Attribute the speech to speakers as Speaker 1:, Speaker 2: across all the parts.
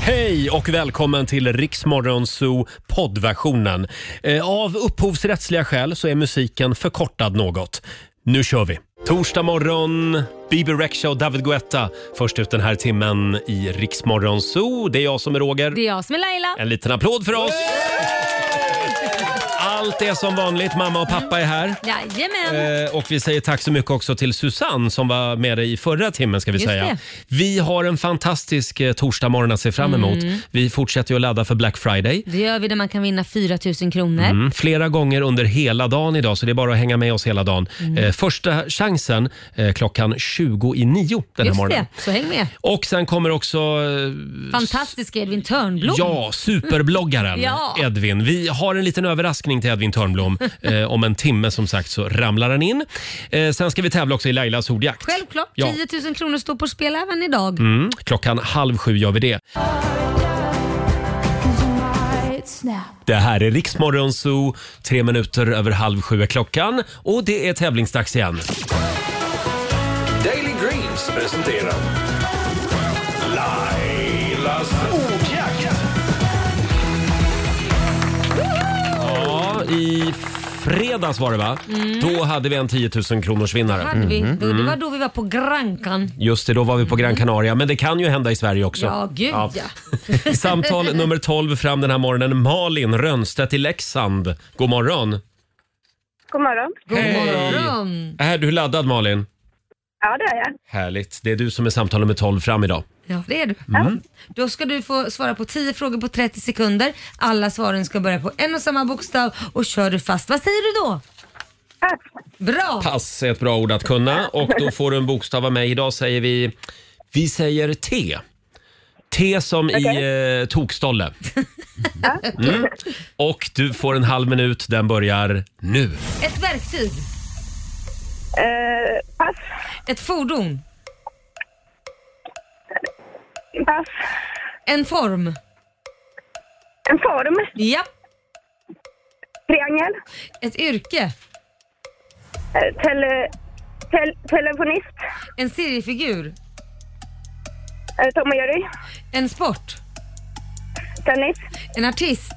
Speaker 1: Hej och välkommen till Riksmorgon Zoo poddversionen. Eh, Av upphovsrättsliga skäl så är musiken förkortad något. Nu kör vi! Torsdag morgon, Bibi Rexha och David Guetta först ut den här timmen i Riksmorgon Zoo. Det är jag som är Roger.
Speaker 2: Det är jag som är Laila.
Speaker 1: En liten applåd för oss! Allt är som vanligt, mamma och pappa är här.
Speaker 2: Jajamän.
Speaker 1: Eh, och vi säger tack så mycket också till Susanne som var med dig i förra timmen ska vi
Speaker 2: Just
Speaker 1: säga.
Speaker 2: det.
Speaker 1: Vi har en fantastisk eh, torsdagmorgon att se fram emot.
Speaker 2: Mm.
Speaker 1: Vi fortsätter ju att ladda för Black Friday.
Speaker 2: Det gör vi där man kan vinna 4 000 kronor.
Speaker 1: Mm, flera gånger under hela dagen idag, så det är bara att hänga med oss hela dagen.
Speaker 2: Mm.
Speaker 1: Eh, första chansen eh, klockan 20 i nio den här
Speaker 2: Just
Speaker 1: morgonen.
Speaker 2: det, så häng med.
Speaker 1: Och sen kommer också eh,
Speaker 2: Fantastiska Edvin Törnblom.
Speaker 1: Ja, superbloggaren
Speaker 2: Ja.
Speaker 1: Edvin. Vi har en liten överraskning till Edvin Törnblom. eh, om en timme som sagt så ramlar han in. Eh, sen ska vi tävla också i Lailas ordjakt.
Speaker 2: Självklart,
Speaker 1: Ja.
Speaker 2: 10 000 kronor står på spel även idag.
Speaker 1: Mm, klockan halv sju gör vi det. Det här är Riksmorgon Zoo. Tre minuter över halv sju är klockan och det är tävlingsdags igen.
Speaker 3: Daily Greens presenterar Lailas ordjakt.
Speaker 1: Ja, i fredags var det va? Då hade vi en 10 000 kronors vinnare.
Speaker 2: Hade vi. Då, det
Speaker 1: Mm.
Speaker 2: var då vi var på Grankan.
Speaker 1: Just det, då var vi på Gran Canaria, men det kan ju hända i Sverige också.
Speaker 2: Ja, gud ja.
Speaker 1: Samtal nummer 12 fram den här morgonen. Malin Rönnstedt i Leksand. God morgon.
Speaker 4: God morgon.
Speaker 2: God
Speaker 1: Hej.
Speaker 2: morgon.
Speaker 1: Är du laddad Malin?
Speaker 4: Ja, det är jag.
Speaker 1: Härligt. Det är du som är samtal nummer 12 fram idag.
Speaker 2: Ja, det är du.
Speaker 1: Mm.
Speaker 2: Då ska du få svara på 10 frågor på 30 sekunder. Alla svaren ska börja på en och samma bokstav och kör du fast, vad säger du då?
Speaker 4: Pass.
Speaker 2: Bra!
Speaker 1: Pass är ett bra ord att kunna och då får du en bokstav av mig. Idag säger vi, vi säger T. T som i eh, tokstolle. Mm. Och du får en halv minut, den börjar nu.
Speaker 2: Ett verktyg,
Speaker 4: Eh, pass.
Speaker 2: ett fordon,
Speaker 4: Pass.
Speaker 2: en form.
Speaker 4: En form.
Speaker 2: Ja.
Speaker 4: Triangel.
Speaker 2: Ett yrke,
Speaker 4: Eh, tele, tel, telefonist.
Speaker 2: en seriefigur,
Speaker 4: Eh, Tom och Jerry.
Speaker 2: en sport,
Speaker 4: Tennis.
Speaker 2: en artist,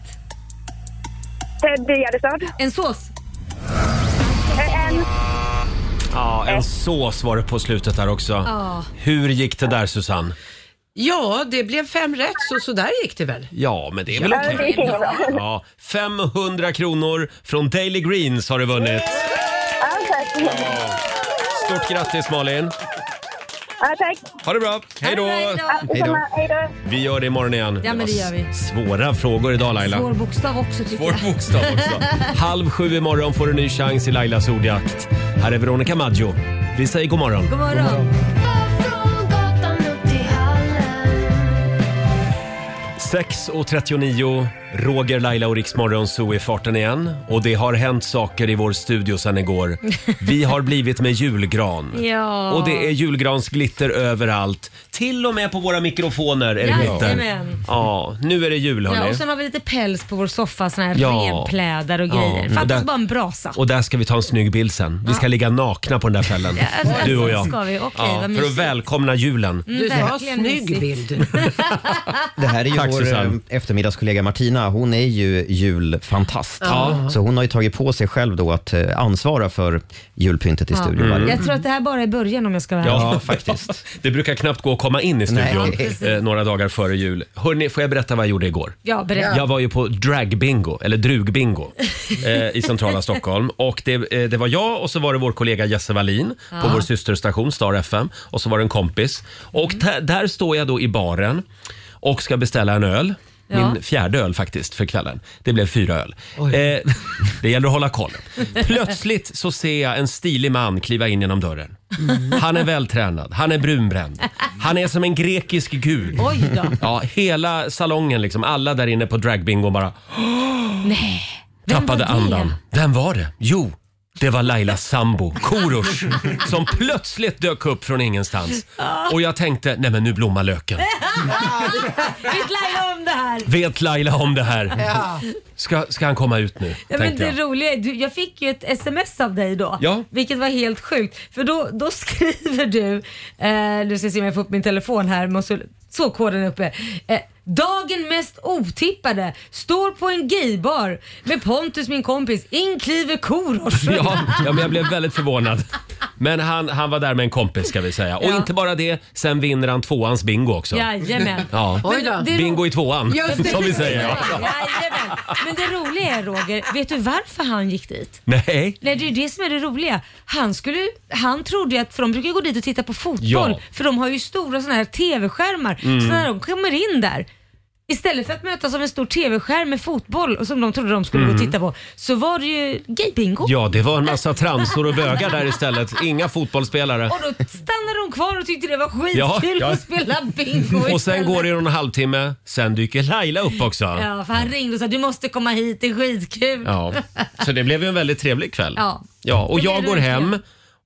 Speaker 4: Ted Gärdestad.
Speaker 2: en sås.
Speaker 4: Eh, en.
Speaker 1: Ja, en sås var det på slutet där också.
Speaker 2: Ja.
Speaker 1: Hur gick det där Susanne?
Speaker 5: Ja, det blev fem rätt, så sådär gick det väl.
Speaker 1: Ja, men det är väl okej.
Speaker 4: Det gick inget bra.
Speaker 1: Ja, 500 kronor från Daily Greens har du vunnit.
Speaker 4: Ja, tack.
Speaker 1: Stort grattis Malin!
Speaker 4: Ja, tack.
Speaker 1: Ha det bra! Hej då!
Speaker 2: Hej då.
Speaker 4: Ja, detsamma. Hej då.
Speaker 1: Vi gör det imorgon igen.
Speaker 2: Ja, men det
Speaker 1: var
Speaker 2: gör vi.
Speaker 1: Svåra frågor idag Laila.
Speaker 2: Svår bokstav också tycker
Speaker 1: Svår
Speaker 2: jag.
Speaker 1: bokstav också. Halv sju imorgon får du en ny chans i Lailas ordjakt. Här är Veronica Maggio. Vi säger god morgon.
Speaker 2: God morgon.
Speaker 1: Sex och 39, Roger, Laila och Riksmorgon Zoo i farten igen. Och det har hänt saker i vår studio sedan igår. Vi har blivit med julgran.
Speaker 2: Ja.
Speaker 1: Och det är julgransglitter överallt. Till och med på våra mikrofoner är det glitter.
Speaker 2: Jajamän.
Speaker 1: Ja, nu är det jul
Speaker 2: Ja,
Speaker 1: hörni.
Speaker 2: och sen har vi lite päls på vår soffa, såna här
Speaker 1: Ja.
Speaker 2: renplädar och
Speaker 1: Ja,
Speaker 2: grejer.
Speaker 1: men
Speaker 2: Fattas
Speaker 1: där-
Speaker 2: bara en brasa.
Speaker 1: Och där ska vi ta en snygg bild sen. Vi ska ligga nakna på den där fällen.
Speaker 2: Ja, alltså,
Speaker 1: Du och jag.
Speaker 2: ska vi. Okej, vad
Speaker 1: för att
Speaker 2: mysigt. Mm.
Speaker 1: välkomna julen.
Speaker 5: Du sa
Speaker 2: verkligen mysigt.
Speaker 5: snygg bild.
Speaker 6: Det här är ju
Speaker 1: Tack,
Speaker 6: vår
Speaker 1: Susanne.
Speaker 6: eh, eftermiddagskollega Martina. Hon är ju julfantast.
Speaker 1: Ja.
Speaker 6: Så hon har ju tagit på sig själv då att eh, ansvara för julpyntet i
Speaker 1: Mm.
Speaker 6: studion varje
Speaker 2: Jag tror att det här bara är början om jag ska vara ärlig.
Speaker 6: Ja, faktiskt.
Speaker 1: Det brukar knappt gå att komma in i studion
Speaker 6: Nej, precis.
Speaker 1: eh, några dagar före jul. Hörrni, får jag berätta vad jag gjorde igår?
Speaker 2: Ja, berätta.
Speaker 1: Jag var ju på dragbingo, eller drugbingo, eh, i centrala Stockholm. Och det, eh, det var jag och så var det vår kollega Jesse Wallin på vår systerstation Star FM. Och så var det en kompis. Och där- där står jag då i baren och ska beställa en öl.
Speaker 2: Ja.
Speaker 1: Min fjärde öl faktiskt för kvällen. Det blev fyra öl. Eh, det gäller att hålla koll. Plötsligt så ser jag en stilig man kliva in genom dörren. Han är vältränad, han är brunbränd, han är som en grekisk gud.
Speaker 2: Oj då.
Speaker 1: Ja, hela salongen, liksom, alla där inne på dragbingo bara
Speaker 2: Nej. Vem
Speaker 1: tappade
Speaker 2: var det?
Speaker 1: andan. Vem var det? Jo, det var Lailas sambo, Korosh, som plötsligt dök upp från ingenstans. Och jag tänkte, nej men nu blommar löken.
Speaker 2: Vet Laila om det här?
Speaker 1: Vet Laila om det här? Ska, ska han komma ut nu?
Speaker 2: Ja, men
Speaker 1: tänkte
Speaker 2: det
Speaker 1: jag.
Speaker 2: roliga är, du, jag fick ju ett sms av dig då,
Speaker 1: Ja.
Speaker 2: vilket var helt sjukt. För då, då skriver du, eh, nu ska se om jag får upp min telefon här, måste så koden är uppe. Eh, Dagen mest otippade, står på en gaybar med Pontus min kompis, inkliver Korosh.
Speaker 1: Ja, ja, men jag blev väldigt förvånad. Men han, han var där med en kompis ska vi säga. Och
Speaker 2: Ja.
Speaker 1: inte bara det, sen vinner han tvåans bingo också.
Speaker 2: Jajamän.
Speaker 1: Ja.
Speaker 5: Oj då.
Speaker 2: det är
Speaker 1: Bingo i
Speaker 2: ro-
Speaker 1: tvåan,
Speaker 2: Just det.
Speaker 1: som vi säger. Ja.
Speaker 2: Jajamän. Men det roliga är Roger, vet du varför han gick dit?
Speaker 1: Nej.
Speaker 2: Nej, det är ju det som är det roliga. Han, skulle, han trodde ju att, för de brukar gå dit och titta på fotboll,
Speaker 1: Ja. Mm.
Speaker 2: för de har ju stora sådana här TV-skärmar. Så när de kommer in där, istället för att mötas av en stor TV-skärm med fotboll och som de trodde de skulle gå och titta på, så var det ju gaybingo.
Speaker 1: Mm. Ja, det var en massa transor och bögar där istället. Inga fotbollsspelare.
Speaker 2: Och då stannade de kvar och tyckte det var
Speaker 1: Ja,
Speaker 2: skitkul
Speaker 1: ja.
Speaker 2: att spela bingo
Speaker 1: Och sen
Speaker 2: istället.
Speaker 1: går det någon halvtimme, sen dyker Laila upp också.
Speaker 2: Ja, för han ringde och sa du måste komma hit, det är skitkul.
Speaker 1: Ja. Så det blev ju en väldigt trevlig kväll.
Speaker 2: Ja.
Speaker 1: ja och
Speaker 2: Det blev
Speaker 1: jag
Speaker 2: det
Speaker 1: går
Speaker 2: verkligen.
Speaker 1: hem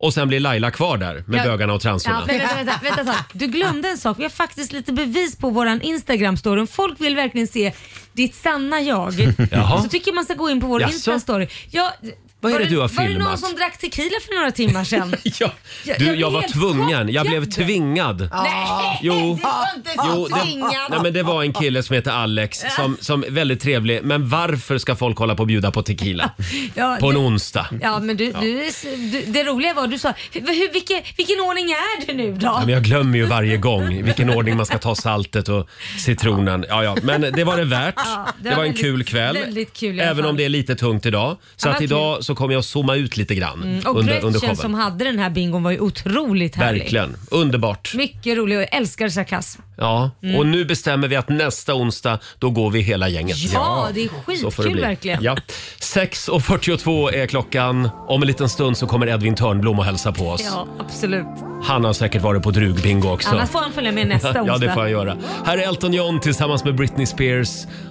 Speaker 1: och sen blir Laila kvar där med
Speaker 2: Ja.
Speaker 1: bögarna och transorna.
Speaker 2: Ja, vänta, vänta, vänta, vänta. Du glömde en sak. Vi har faktiskt lite bevis på våran Instagram-story. Om Folk vill verkligen se ditt sanna jag.
Speaker 1: Jaha.
Speaker 2: Så tycker man ska gå in på vår
Speaker 1: Jaså?
Speaker 2: Insta-story. Ja,
Speaker 1: Vad är det du har
Speaker 2: Var det någon
Speaker 1: filmat?
Speaker 2: som drack tequila för några timmar sedan?
Speaker 1: Ja. Du, jag
Speaker 2: jag blev
Speaker 1: var
Speaker 2: helt
Speaker 1: tvungen. Jag blev
Speaker 2: chockad.
Speaker 1: tvingad.
Speaker 2: Nej,
Speaker 1: Jo.
Speaker 2: det var inte
Speaker 1: Jo,
Speaker 2: så
Speaker 1: det, nej,
Speaker 2: tvingad.
Speaker 1: men det var en kille som heter Alex som, som är väldigt trevlig. Men varför ska folk hålla på och bjuda på tequila?
Speaker 2: Ja,
Speaker 1: På en
Speaker 2: du,
Speaker 1: onsdag.
Speaker 2: ja, men du, du, du, det roliga var du sa, hur, hur, vilken, vilken ordning är det nu då?
Speaker 1: Ja, men jag glömmer ju varje gång i vilken ordning man ska ta saltet och citronen. Ja, ja. Men det var det värt.
Speaker 2: Ja,
Speaker 1: det, var en
Speaker 2: väldigt-
Speaker 1: kul kväll.
Speaker 2: väldigt kul i alla
Speaker 1: även om
Speaker 2: fall.
Speaker 1: det är lite tungt idag. Så
Speaker 2: Ja,
Speaker 1: att
Speaker 2: vad Mm,
Speaker 1: idag så kommer jag zooma ut lite grann under,
Speaker 2: Och
Speaker 1: under
Speaker 2: Gretchen
Speaker 1: showen.
Speaker 2: som hade den här bingon var ju otroligt härlig.
Speaker 1: Verkligen. Underbart.
Speaker 2: Mycket rolig och jag älskar sarkasm.
Speaker 1: Ja.
Speaker 2: Mm.
Speaker 1: Och nu bestämmer vi att nästa onsdag, då går vi hela gänget.
Speaker 2: Ja, det är
Speaker 1: Så får det
Speaker 2: skitkul
Speaker 1: bli.
Speaker 2: verkligen.
Speaker 1: Ja. 6.42 är klockan. Om en liten stund så kommer Edvin Törnblom och hälsa på oss.
Speaker 2: Ja, absolut.
Speaker 1: Han har säkert varit på drugbingo också.
Speaker 2: Annars får han följa med nästa onsdag.
Speaker 1: Ja, det får jag göra. Här är Elton John tillsammans med Britney Spears.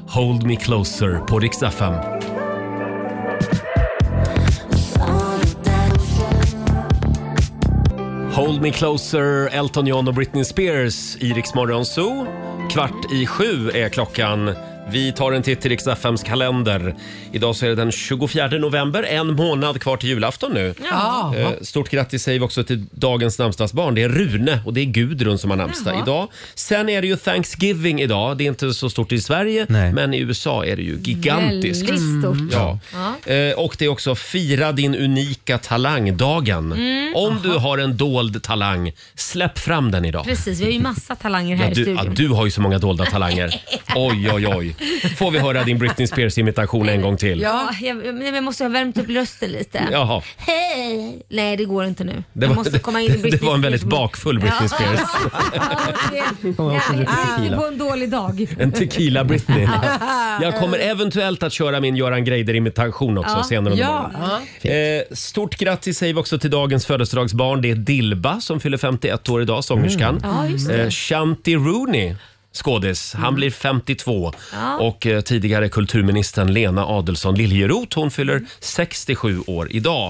Speaker 1: Hold me closer på riksdag 5. Hold me closer, Elton John och Britney Spears i Rix Morgon Zoo. Kvart i sju är klockan. Vi tar en titt i riks FMs kalender. Idag så är det den 24 november, en månad kvar till julafton nu.
Speaker 5: Ja.
Speaker 1: Eh, Stort grattis säger vi också till dagens namnsdagsbarn. Det är Rune och det är Gudrun som har namnsdag
Speaker 2: Jaha.
Speaker 1: idag. Sen är det ju Thanksgiving idag. Det är inte så stort i Sverige,
Speaker 6: Nej.
Speaker 1: men i USA är det ju gigantiskt.
Speaker 2: Väldigt stort.
Speaker 1: Ja. Eh, Och det är också fira din unika talangdagen.
Speaker 2: Mm.
Speaker 1: Om du har en dold talang, släpp fram den idag.
Speaker 2: Precis, vi har ju massa talanger här
Speaker 1: Ja,
Speaker 2: i
Speaker 1: du, ja,
Speaker 2: studion.
Speaker 1: du har ju så många dolda talanger. Oj, oj, oj. Får vi höra din Britney Spears-imitation en gång till?
Speaker 2: Ja, jag, men jag måste ha värmt upp rösten lite.
Speaker 1: Jaha.
Speaker 2: Hej! Nej, det går inte nu.
Speaker 1: Det
Speaker 2: jag
Speaker 1: var-
Speaker 2: måste komma in i Britney
Speaker 1: det var en väldigt
Speaker 2: Spears-
Speaker 1: bakfull Britney Spears.
Speaker 2: Ja, det-
Speaker 6: Hon har också druckit
Speaker 2: Ja,
Speaker 6: tequila.
Speaker 2: på en dålig dag.
Speaker 1: En tequila Britney. Jag kommer eventuellt att köra min Göran Greider-imitation också
Speaker 2: Ja.
Speaker 1: senare under
Speaker 5: Ja.
Speaker 1: morgonen. Eh, stort grattis säger vi också till dagens födelsedagsbarn. Det är Dilba som fyller 51 år idag, sångerskan.
Speaker 2: Mm. Ja, just Mm.
Speaker 1: Eh, Shanti Rooney. Skådis. Han blir 52 och eh, tidigare kulturministern Lena Adelsohn Liljeroth hon fyller 67 år idag.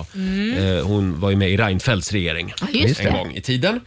Speaker 1: Eh, hon var ju med i Reinfeldts regering
Speaker 2: Mm. Ja, just
Speaker 1: en
Speaker 2: det. Mm.
Speaker 1: gång i tiden.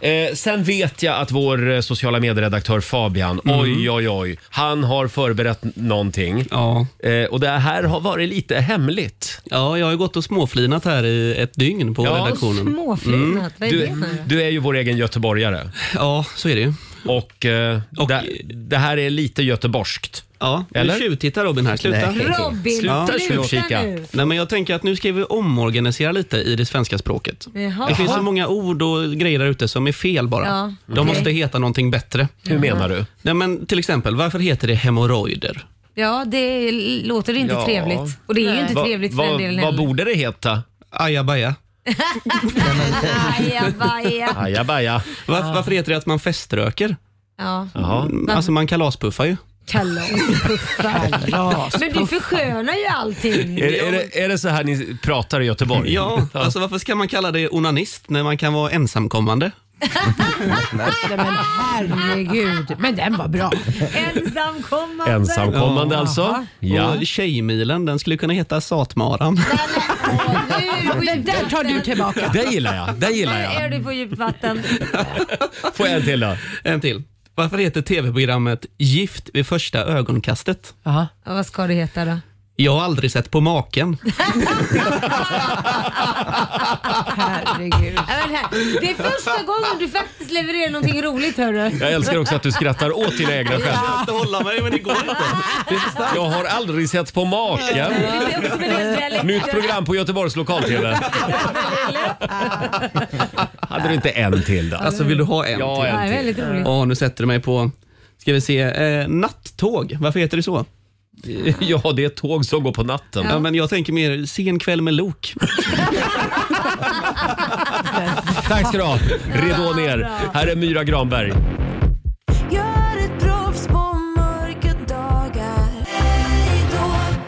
Speaker 1: Eh, sen vet jag att vår eh, sociala medieredaktör Fabian, oj oj oj, han har förberett n- någonting.
Speaker 7: Ja.
Speaker 1: Eh, och det här har varit lite hemligt.
Speaker 7: ja, jag har ju gått och småflinat här i ett dygn på
Speaker 1: Ja.
Speaker 7: redaktionen.
Speaker 2: Småflinat, vad är det
Speaker 1: Du,
Speaker 2: nu då?
Speaker 1: du är ju vår egen göteborgare
Speaker 7: Ja, så är det ju.
Speaker 1: och, eh,
Speaker 7: Och-
Speaker 1: det, det här är lite göteborgskt.
Speaker 7: Ja,
Speaker 1: Eller?
Speaker 7: Eller? nu tjuvtittar Robin här. Sluta.
Speaker 6: Nej.
Speaker 2: Robin,
Speaker 1: Sluta
Speaker 2: sluta
Speaker 1: tjuvkika.
Speaker 2: nu.
Speaker 7: Nej, men jag tänker att nu ska vi omorganisera lite i det svenska språket.
Speaker 2: Jaha.
Speaker 7: Det finns så många ord och grejer där ute som är fel bara.
Speaker 2: Ja,
Speaker 7: De måste heta någonting bättre.
Speaker 1: Hur menar du?
Speaker 7: Nej, men till exempel, varför heter det hemorrojder?
Speaker 2: Ja, det låter inte
Speaker 1: Ja.
Speaker 2: trevligt. Och det är ju inte
Speaker 1: Va-
Speaker 2: trevligt för
Speaker 1: va-
Speaker 2: den delen
Speaker 1: Vad
Speaker 2: heller.
Speaker 1: borde det heta?
Speaker 7: Ajabaja.
Speaker 2: Ajabaja.
Speaker 1: Ajabaja.
Speaker 7: Var, Varför heter det att man feströker?
Speaker 2: Ja,
Speaker 1: Jaha.
Speaker 7: Alltså man kalaspuffar ju.
Speaker 2: kalaspuffar. Men du förskönar ju allting.
Speaker 1: Är, är, det, är det så här ni pratar i Göteborg?
Speaker 7: Ja, alltså varför ska man kalla det onanist när man kan vara ensamkommande?
Speaker 5: Nej, men herregud. Men den var bra.
Speaker 2: Ensamkommande.
Speaker 1: Ensamkommande alltså. Ja.
Speaker 7: Och tjejmilen, den skulle kunna heta satmaran.
Speaker 2: Nu,
Speaker 5: Den där tar du tillbaka.
Speaker 1: Det gillar jag. Det gillar
Speaker 2: Där är
Speaker 1: jag.
Speaker 2: du på djupt vatten.
Speaker 1: Får jag en till då?
Speaker 7: En till. Varför heter tv-programmet Gift vid första ögonkastet?
Speaker 5: Ja.
Speaker 2: Ja, vad ska det heta då?
Speaker 7: Jag har aldrig sett på maken.
Speaker 5: Herregud.
Speaker 2: Ja, men här. Det är första gången du faktiskt levererar någonting roligt hörru.
Speaker 1: Jag älskar också att du skrattar åt dina egna skämt.
Speaker 7: Jag inte hålla mig, men det går inte.
Speaker 1: Jag har aldrig sett på maken.
Speaker 2: Det är också med den dialekten.
Speaker 1: Nytt program på Göteborgs lokal-tv. Hade du inte en till då?
Speaker 7: Alltså, vill du ha en
Speaker 1: Ja,
Speaker 7: till?
Speaker 2: Ja, det är
Speaker 1: en till.
Speaker 2: väldigt roligt.
Speaker 7: Ja, nu sätter du mig på... Ska vi se. Eh, nattåg, varför heter det så?
Speaker 1: Ja, det är ett tåg som går på natten.
Speaker 7: Ja, men jag tänker mer sen kväll med lok.
Speaker 1: Tack ska du ha. Ridå ner. Här är Myra Granberg.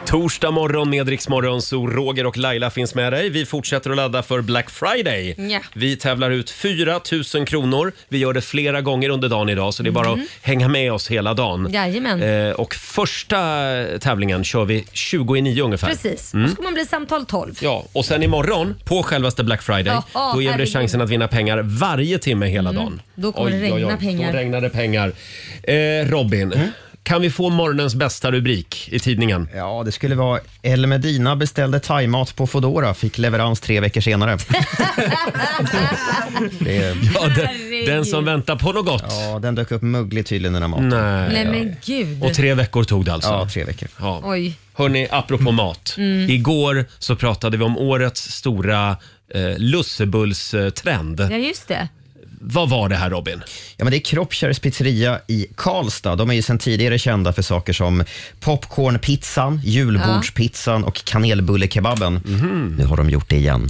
Speaker 1: Torsdag morgon med Rix Morgon, så Roger och Laila finns med dig. Vi fortsätter att ladda för Black Friday.
Speaker 2: Ja.
Speaker 1: Vi tävlar ut 4 000 kronor. Vi gör det flera gånger under dagen idag, så det är bara att hänga med oss hela dagen.
Speaker 2: Mhm. Jajamän.
Speaker 1: Eh, och första tävlingen kör vi 20 i 9 ungefär.
Speaker 2: Precis. Då ska man bli samtal 12.
Speaker 1: Mm. Ja, och sen imorgon på självaste Black Friday,
Speaker 2: Jaha,
Speaker 1: då ger vi dig
Speaker 2: herregud. Mm,
Speaker 1: chansen att vinna pengar varje timme hela dagen.
Speaker 2: Då kommer det regna pengar.
Speaker 1: Då regnar det pengar. Eh, Robin,
Speaker 6: Mm.
Speaker 1: kan vi få morgonens bästa rubrik i tidningen?
Speaker 6: Ja, det skulle vara El Medina beställde thaimat på Foodora, fick leverans tre veckor senare. det är,
Speaker 1: Ja, den,
Speaker 2: Herregud.
Speaker 1: den som väntar på något gott.
Speaker 6: ja, den dök upp mögligt tydligen den här maten.
Speaker 1: Nej.
Speaker 2: Nej men gud.
Speaker 1: Och tre veckor tog det alltså.
Speaker 6: Ja, tre Mm. veckor.
Speaker 1: Ja.
Speaker 2: Oj. Mm.
Speaker 1: Hörni, apropå mat. Igår så pratade vi om årets stora eh, lussebullstrend.
Speaker 2: Ja just det.
Speaker 1: Vad var det här Robin?
Speaker 6: Ja, men det är Kroppkärrs pizzeria i Karlstad. De är ju sedan tidigare kända för saker som popcornpizzan, julbordspizzan och kanelbullekebaben.
Speaker 1: Mhm.
Speaker 6: Nu har de gjort det igen.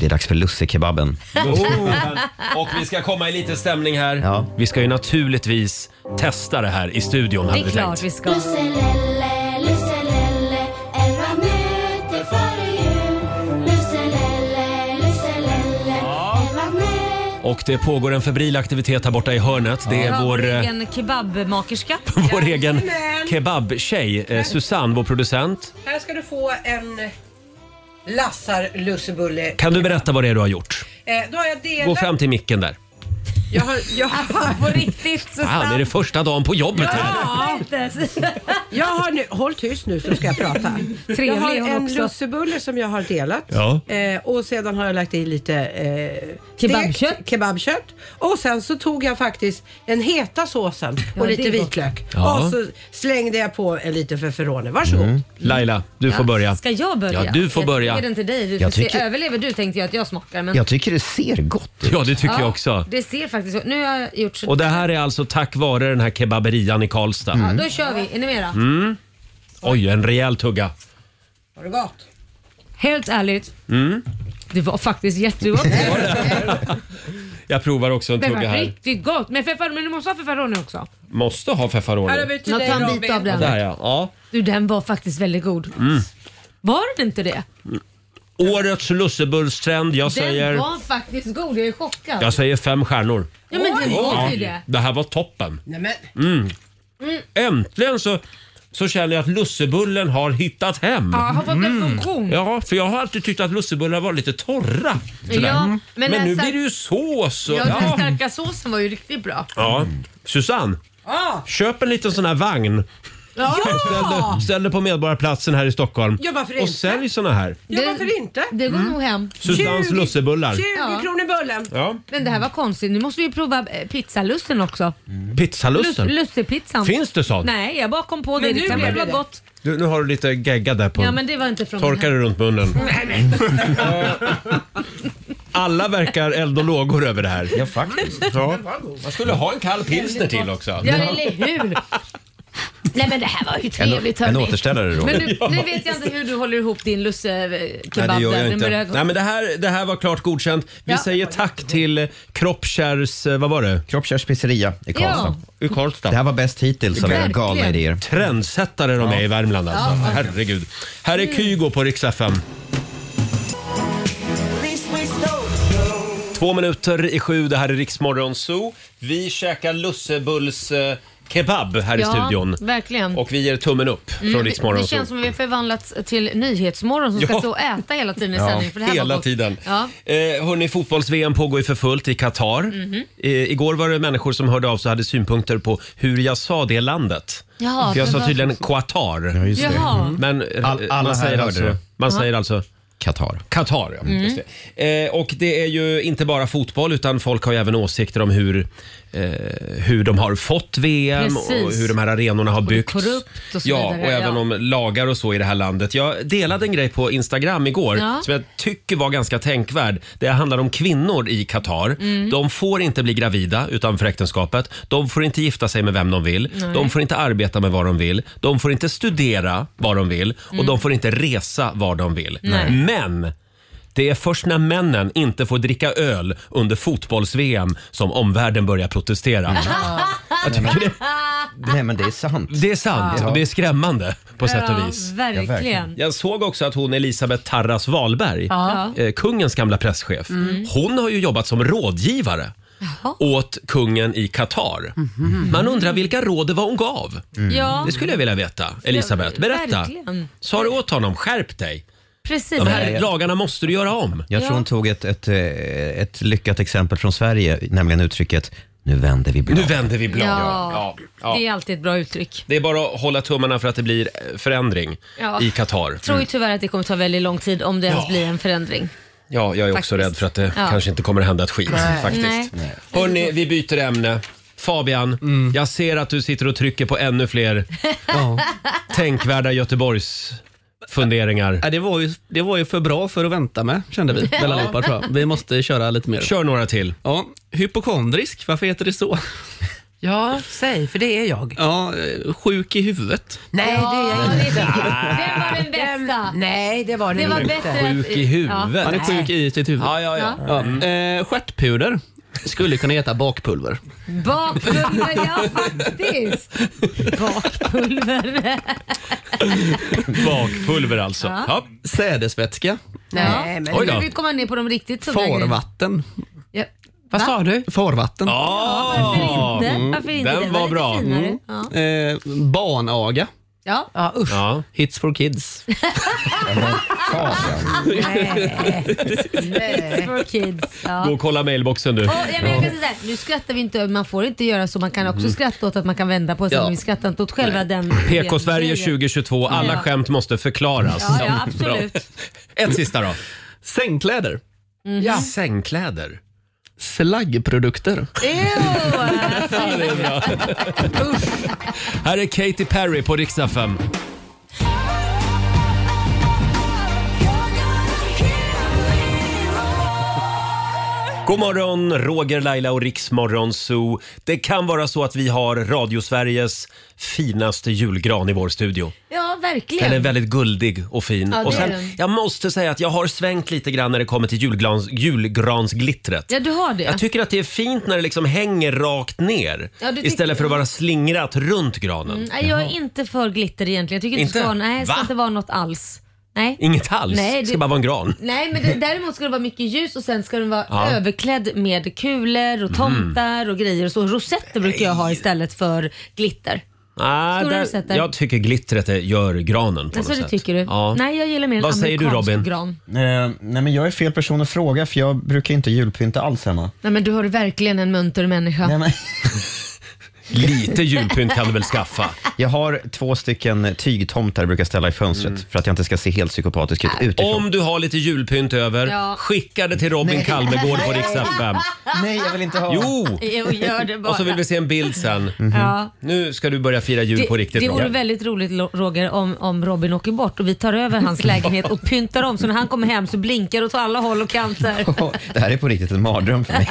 Speaker 6: Det är dags för lussekebaben.
Speaker 1: Oh. Och vi ska komma i lite stämning här.
Speaker 6: Ja.
Speaker 1: Vi ska ju naturligtvis testa det här i studion
Speaker 2: Det
Speaker 1: hade
Speaker 2: är
Speaker 1: vi
Speaker 2: klart vi
Speaker 1: tänkt.
Speaker 2: ska.
Speaker 8: Lusselelle, lusselelle, elva minuter före jul. Lusselelle, lusselelle, elva minuter
Speaker 1: Och det pågår en febril aktivitet här borta i hörnet. Det är
Speaker 2: Ja,
Speaker 1: vår,
Speaker 2: vår
Speaker 1: eh,
Speaker 2: egen kebabmakerska.
Speaker 1: vår egen kebabtjej, eh, Susanne, vår producent.
Speaker 9: Här ska du få en Lassar-lussebulle.
Speaker 1: Kan du berätta vad det är du har gjort?
Speaker 9: Eh, då har jag
Speaker 1: Gå
Speaker 9: delat...
Speaker 1: fram till micken där.
Speaker 9: Jag har, jag, har,
Speaker 2: På riktigt så
Speaker 1: Fan, är det första dagen på jobbet här?
Speaker 9: jag har nu... Håll tyst nu så ska jag prata. Jag har
Speaker 2: Trevlig hon
Speaker 9: en
Speaker 2: också.
Speaker 9: lussebulle som jag har delat.
Speaker 1: Ja.
Speaker 9: Eh, och sedan har jag lagt i lite eh, stek-
Speaker 2: Kebabkött.
Speaker 9: kebabkött. Och sen så tog jag faktiskt den heta såsen och
Speaker 2: Ja, det
Speaker 9: lite
Speaker 2: är gott.
Speaker 9: vitlök.
Speaker 1: Ja.
Speaker 9: Och så slängde jag på en liten feferone. Varsågod.
Speaker 1: Laila, du får börja.
Speaker 2: Ska jag börja?
Speaker 1: Ja, du får börja.
Speaker 2: Jag ger den till dig. Du får
Speaker 6: Jag
Speaker 2: se.
Speaker 6: tycker-
Speaker 2: Överlever du tänkte jag att jag smakar. Men...
Speaker 6: Jag tycker det ser gott ut.
Speaker 1: Ja, det tycker jag också.
Speaker 2: Det ser faktiskt så. Nu har jag gjort så.
Speaker 1: Och det här är alltså tack vare den här kebaberian i Karlstad.
Speaker 2: Ja, då kör vi. Är ni med då?
Speaker 1: Mm. Oj, en rejäl tugga.
Speaker 9: Var det gott?
Speaker 2: Helt ärligt.
Speaker 1: Mm.
Speaker 2: Det var faktiskt jättegott. Det
Speaker 1: Jag provar också en
Speaker 2: var
Speaker 1: tugga här.
Speaker 2: riktigt gott. Men, fefer, men du måste ha feferoni också.
Speaker 1: Måste ha
Speaker 9: Här har
Speaker 1: fefaroni.
Speaker 9: vi till
Speaker 2: Jag
Speaker 9: dig
Speaker 2: tar en
Speaker 9: Robin.
Speaker 2: bit av den.
Speaker 1: Där Mm. ja. ja.
Speaker 2: Du, den var faktiskt väldigt god. Var den inte det?
Speaker 1: Årets lussebullstrend. Jag
Speaker 2: Den
Speaker 1: säger,
Speaker 2: var faktiskt god. Jag är chockad.
Speaker 1: jag säger fem stjärnor.
Speaker 2: Ja, men den var ju
Speaker 1: Ja,
Speaker 2: det.
Speaker 1: det här var toppen.
Speaker 9: Nej, men,
Speaker 1: Äntligen så, så känner jag att lussebullen har hittat hem.
Speaker 2: Ja, har fått en funktion.
Speaker 1: Mm. Ja, för jag har alltid tyckt att lussebullar var lite torra. Sådär.
Speaker 2: Ja,
Speaker 1: men
Speaker 2: men den
Speaker 1: nu
Speaker 2: här-
Speaker 1: blir det ju sås och...
Speaker 2: Ja, den
Speaker 1: Ja.
Speaker 2: starka såsen var ju riktigt bra.
Speaker 1: Ja. Susanne,
Speaker 9: ah,
Speaker 1: köp en liten sån här vagn.
Speaker 2: Ja!
Speaker 1: Ställ, ställ dig på Medborgarplatsen här i Stockholm
Speaker 9: Ja, varför
Speaker 1: och
Speaker 9: inte?
Speaker 1: sälj såna här.
Speaker 9: ja,
Speaker 2: Det-
Speaker 9: varför inte?
Speaker 2: Det går nog hem.
Speaker 1: Susannes
Speaker 9: 20
Speaker 1: lussebullar.
Speaker 9: 20
Speaker 2: Ja.
Speaker 9: kronor bullen.
Speaker 1: Ja.
Speaker 2: Men det här var konstigt. Nu måste vi prova eh, pizzalusten också. Lus-
Speaker 1: Pizzalusten.
Speaker 2: Lussepizzan.
Speaker 1: Finns det sånt?
Speaker 2: Nej, jag bara kom på det.
Speaker 9: Men
Speaker 2: Det
Speaker 9: nu
Speaker 2: kan
Speaker 9: blev
Speaker 2: väl vara
Speaker 9: det.
Speaker 2: gott.
Speaker 1: Du, nu har du lite gegga där på.
Speaker 2: Ja, men det var inte från
Speaker 1: Torka dig runt munnen. Mm. Alla verkar eld och lågor över det här.
Speaker 6: Ja, faktiskt.
Speaker 1: Ja. Man skulle ha en kall pilsner till också.
Speaker 2: Ja, eller hur? Nej, men det här var ju trevligt
Speaker 6: en
Speaker 2: hörni.
Speaker 6: återställare då.
Speaker 2: Men nu, nu vet jag inte hur du håller ihop din lussekebab
Speaker 6: Nej, det gör
Speaker 2: där.
Speaker 6: jag
Speaker 2: Den
Speaker 6: inte.
Speaker 2: börjar gå-
Speaker 1: Nej men det här, det här var klart godkänt. Vi
Speaker 2: Ja.
Speaker 1: säger tack till eh, Kroppkärrs, eh, vad var det?
Speaker 6: Kroppkärrs pizzeria i Karlstad.
Speaker 2: Ja.
Speaker 1: Ur
Speaker 6: Det här
Speaker 1: Karlstad.
Speaker 6: var bäst hittills av era
Speaker 2: Verkligen.
Speaker 6: galna idéer.
Speaker 1: Trendsättare de är i Värmland alltså. Herregud. Här är Kygo på Rix FM. Två minuter i sju, det här är Riksmorgon Zoo. Vi käkar lussebulls eh, kebab här i studion.
Speaker 2: verkligen.
Speaker 1: Och vi ger tummen upp från
Speaker 2: Mm,
Speaker 1: mm,
Speaker 2: det-
Speaker 1: Riksmorgon.
Speaker 2: Det känns som att vi har förvandlats till Nyhetsmorgon som ska
Speaker 1: Ja.
Speaker 2: stå och äta hela tiden i
Speaker 1: Ja,
Speaker 2: sändning. För det här var
Speaker 1: hela
Speaker 2: gott.
Speaker 1: tiden.
Speaker 2: Ja.
Speaker 1: Eh, hörni, fotbolls-VM pågår ju för fullt i Qatar.
Speaker 2: Mhm.
Speaker 1: Eh, igår var det människor som hörde av sig och hade synpunkter på hur jag sa det landet.
Speaker 2: Jaha,
Speaker 1: För jag
Speaker 2: det
Speaker 1: sa
Speaker 2: var-
Speaker 1: tydligen Qatar.
Speaker 6: just det.
Speaker 2: Jaha.
Speaker 1: Men
Speaker 6: All-
Speaker 1: eh,
Speaker 6: alla
Speaker 1: man
Speaker 6: här
Speaker 1: säger
Speaker 6: hörde
Speaker 1: alltså...
Speaker 6: det.
Speaker 1: Man säger alltså
Speaker 6: Qatar.
Speaker 1: Qatar, ja.
Speaker 2: Mm.
Speaker 1: Just det. Eh, och det är ju inte bara fotboll utan folk har ju även åsikter om hur, eh, hur de har fått VM och
Speaker 2: Precis.
Speaker 1: hur de här arenorna har byggts.
Speaker 2: korrupt och så
Speaker 1: ja,
Speaker 2: vidare,
Speaker 1: och även
Speaker 2: ja.
Speaker 1: om lagar och så i det här landet. Jag delade en grej på Instagram igår
Speaker 2: Ja.
Speaker 1: som jag tycker var ganska tänkvärd. Det handlar om kvinnor i Qatar.
Speaker 2: Mm.
Speaker 1: De får inte bli gravida utanför äktenskapet. De får inte gifta sig med vem de vill. De får inte arbeta med vad de vill. De får inte studera vad de vill. Och de får inte resa vad de vill.
Speaker 2: Mm. Nej.
Speaker 1: Men det är först när männen inte får dricka öl under fotbolls-VM som omvärlden börjar
Speaker 2: Mm.
Speaker 1: protestera. Jag tycker det,
Speaker 6: Nej, men det är sant.
Speaker 1: det är sant
Speaker 6: Ja.
Speaker 1: och det är skrämmande på sätt och
Speaker 2: Ja,
Speaker 1: vis.
Speaker 2: verkligen.
Speaker 1: Jag såg också att hon Elisabeth Tarras Wahlberg,
Speaker 2: Ja. Mm.
Speaker 1: eh, kungens gamla presschef, hon har ju jobbat som rådgivare åt kungen i Qatar.
Speaker 2: Mhm.
Speaker 1: Man undrar vilka råd det var hon gav.
Speaker 2: Ja,
Speaker 1: Det skulle jag vilja veta. Elisabeth, berätta.
Speaker 2: verkligen.
Speaker 1: Sa du åt honom, skärp dig.
Speaker 2: precis.
Speaker 1: De här lagarna måste du göra om.
Speaker 6: Jag
Speaker 2: Ja.
Speaker 6: tror hon tog ett, ett, eh, ett lyckat exempel från Sverige, nämligen uttrycket “nu vänder vi blad”.
Speaker 1: Nu vänder vi blad.
Speaker 2: Ja. Det är alltid ett bra uttryck.
Speaker 1: Det är bara att hålla tummarna för att det blir eh, förändring
Speaker 2: Ja.
Speaker 1: i Qatar.
Speaker 2: tror ju tyvärr att det kommer ta väldigt lång tid om det ens blir en förändring.
Speaker 1: Ja, jag är också
Speaker 2: Faktiskt.
Speaker 1: rädd för att det
Speaker 2: Ja.
Speaker 1: kanske inte kommer att hända ett skit.
Speaker 2: Nej.
Speaker 1: Faktiskt. Hörni, vi byter ämne. Fabian, jag ser att du sitter och trycker på ännu fler tänkvärda Göteborgs funderingar.
Speaker 7: Ja, det, var ju, det var ju för bra för att vänta med, kände vi. väl Allihopa, tror jag. Vi måste köra lite mer.
Speaker 1: Kör några till.
Speaker 7: Ja, hypokondrisk, varför heter det så?
Speaker 5: Ja, säg, för det är jag.
Speaker 7: Ja, eh, sjuk i huvudet.
Speaker 5: Nej, det är jag
Speaker 2: Ja,
Speaker 5: inte.
Speaker 2: det, det var den bästa.
Speaker 5: Nej, det var det,
Speaker 2: Det var
Speaker 5: inte.
Speaker 2: bättre att-
Speaker 1: Sjuk i huvudet.
Speaker 7: Man är sjuk i sitt huvud.
Speaker 1: Ja, ja, ja.
Speaker 7: Ja, eh, stjärtpuder skulle kunna heta bakpulver.
Speaker 2: Ja, bakpulver, ja faktiskt. Bakpulver.
Speaker 1: Bakpulver alltså. Ja.
Speaker 7: Sädesvätska.
Speaker 5: Nej, men,
Speaker 1: Oj
Speaker 2: Nu
Speaker 1: då.
Speaker 2: vi komma ner på de riktigt tunga grejerna.
Speaker 7: Farvatten.
Speaker 2: Ja.
Speaker 5: vad sa du?
Speaker 7: Farvatten.
Speaker 1: Ah,
Speaker 2: Inte? Varför inte?
Speaker 1: Den
Speaker 2: Det
Speaker 1: var
Speaker 2: lite
Speaker 1: bra. Mm.
Speaker 2: finare. Ja.
Speaker 7: Eh, barnaga.
Speaker 2: Ja.
Speaker 5: Ja, usch.
Speaker 1: Ja.
Speaker 7: Hits for kids.
Speaker 2: It's for kids. Ja.
Speaker 1: Gå och kolla mailboxen du.
Speaker 2: Och, ja, men jag kan säga så här, nu skrattar vi inte, man får inte göra så. Man kan
Speaker 1: Mm.
Speaker 2: också skratta åt att man kan vända på sig,
Speaker 7: Ja.
Speaker 2: men vi skrattar inte åt själva den.
Speaker 1: PK-Sverige
Speaker 2: den grejen.
Speaker 1: 2022. Alla
Speaker 2: Ja.
Speaker 1: skämt måste förklaras.
Speaker 2: Ja, Mhm. ja, absolut.
Speaker 1: Bra. Ett sista då.
Speaker 7: Sängkläder.
Speaker 5: Ja.
Speaker 1: Sängkläder.
Speaker 7: Slaggprodukter.
Speaker 2: Ew!
Speaker 1: Här är Katy Perry på riksdag 5. God morgon, Roger, Laila och Riksmorgon Zoo. Det kan vara så att vi har Radiosveriges finaste julgran i vår studio.
Speaker 2: Ja, verkligen.
Speaker 1: Den är väldigt guldig och fin.
Speaker 2: Ja, det
Speaker 1: och
Speaker 2: är den.
Speaker 1: jag måste säga att jag har svängt lite grann när det kommer till julgrans, julgransglittret.
Speaker 2: Ja, du har det.
Speaker 1: Jag tycker att det är fint när det liksom hänger rakt ner
Speaker 2: Ja, du tycker- Mm.
Speaker 1: istället för att vara slingrat runt granen.
Speaker 2: Nej, jag är inte för glitter egentligen. Jag tycker inte,
Speaker 1: Inte?
Speaker 2: Det ska, vara- nej, det ska
Speaker 1: Va?
Speaker 2: inte vara något alls. Nej.
Speaker 1: Inget alls,
Speaker 2: Nej,
Speaker 1: det
Speaker 2: det-
Speaker 1: ska bara vara en gran.
Speaker 2: Nej, men det, däremot ska det vara mycket ljus och sen ska den vara
Speaker 1: Ja. Mhm.
Speaker 2: överklädd med kulor och tomtar och grejer och så. Rosetter brukar jag ha istället för glitter.
Speaker 1: Ah,
Speaker 2: Stora rosetter.
Speaker 1: jag tycker glittret är, gör granen på
Speaker 2: Alltså,
Speaker 1: något
Speaker 2: det
Speaker 1: sätt.
Speaker 2: tycker du?
Speaker 1: Ja.
Speaker 2: Nej, jag gillar mer en
Speaker 1: Vad säger du,
Speaker 2: amerikansk
Speaker 1: Robin?
Speaker 2: gran.
Speaker 6: Eh, nej, men jag är fel person att fråga för jag brukar inte julpynta alls hemma.
Speaker 2: Nej, men du har verkligen en munter människa.
Speaker 6: Nej, men,
Speaker 1: Lite julpynt kan du väl skaffa?
Speaker 6: jag har två stycken tygtomtar jag brukar ställa i fönstret för att jag inte ska se helt psykopatisk ut
Speaker 2: Äh,
Speaker 6: utifrån.
Speaker 1: Om du har lite julpynt över,
Speaker 2: Ja.
Speaker 1: skicka det till Robin Kalmegård på riksdag 5.
Speaker 6: Nej, jag vill inte ha. Mhm.
Speaker 1: Jo!
Speaker 2: Jo, gör det bara.
Speaker 1: Och så vill vi se en bild sen.
Speaker 2: ja.
Speaker 1: Nu ska du börja fira jul på riktigt
Speaker 2: det vore
Speaker 1: Roger.
Speaker 2: väldigt roligt Lo- Roger om, om Robin åker bort och vi tar över hans lägenhet och pyntar om så när han kommer hem så blinkar det åt alla håll och kanter.
Speaker 6: Det här är på riktigt en mardröm för mig.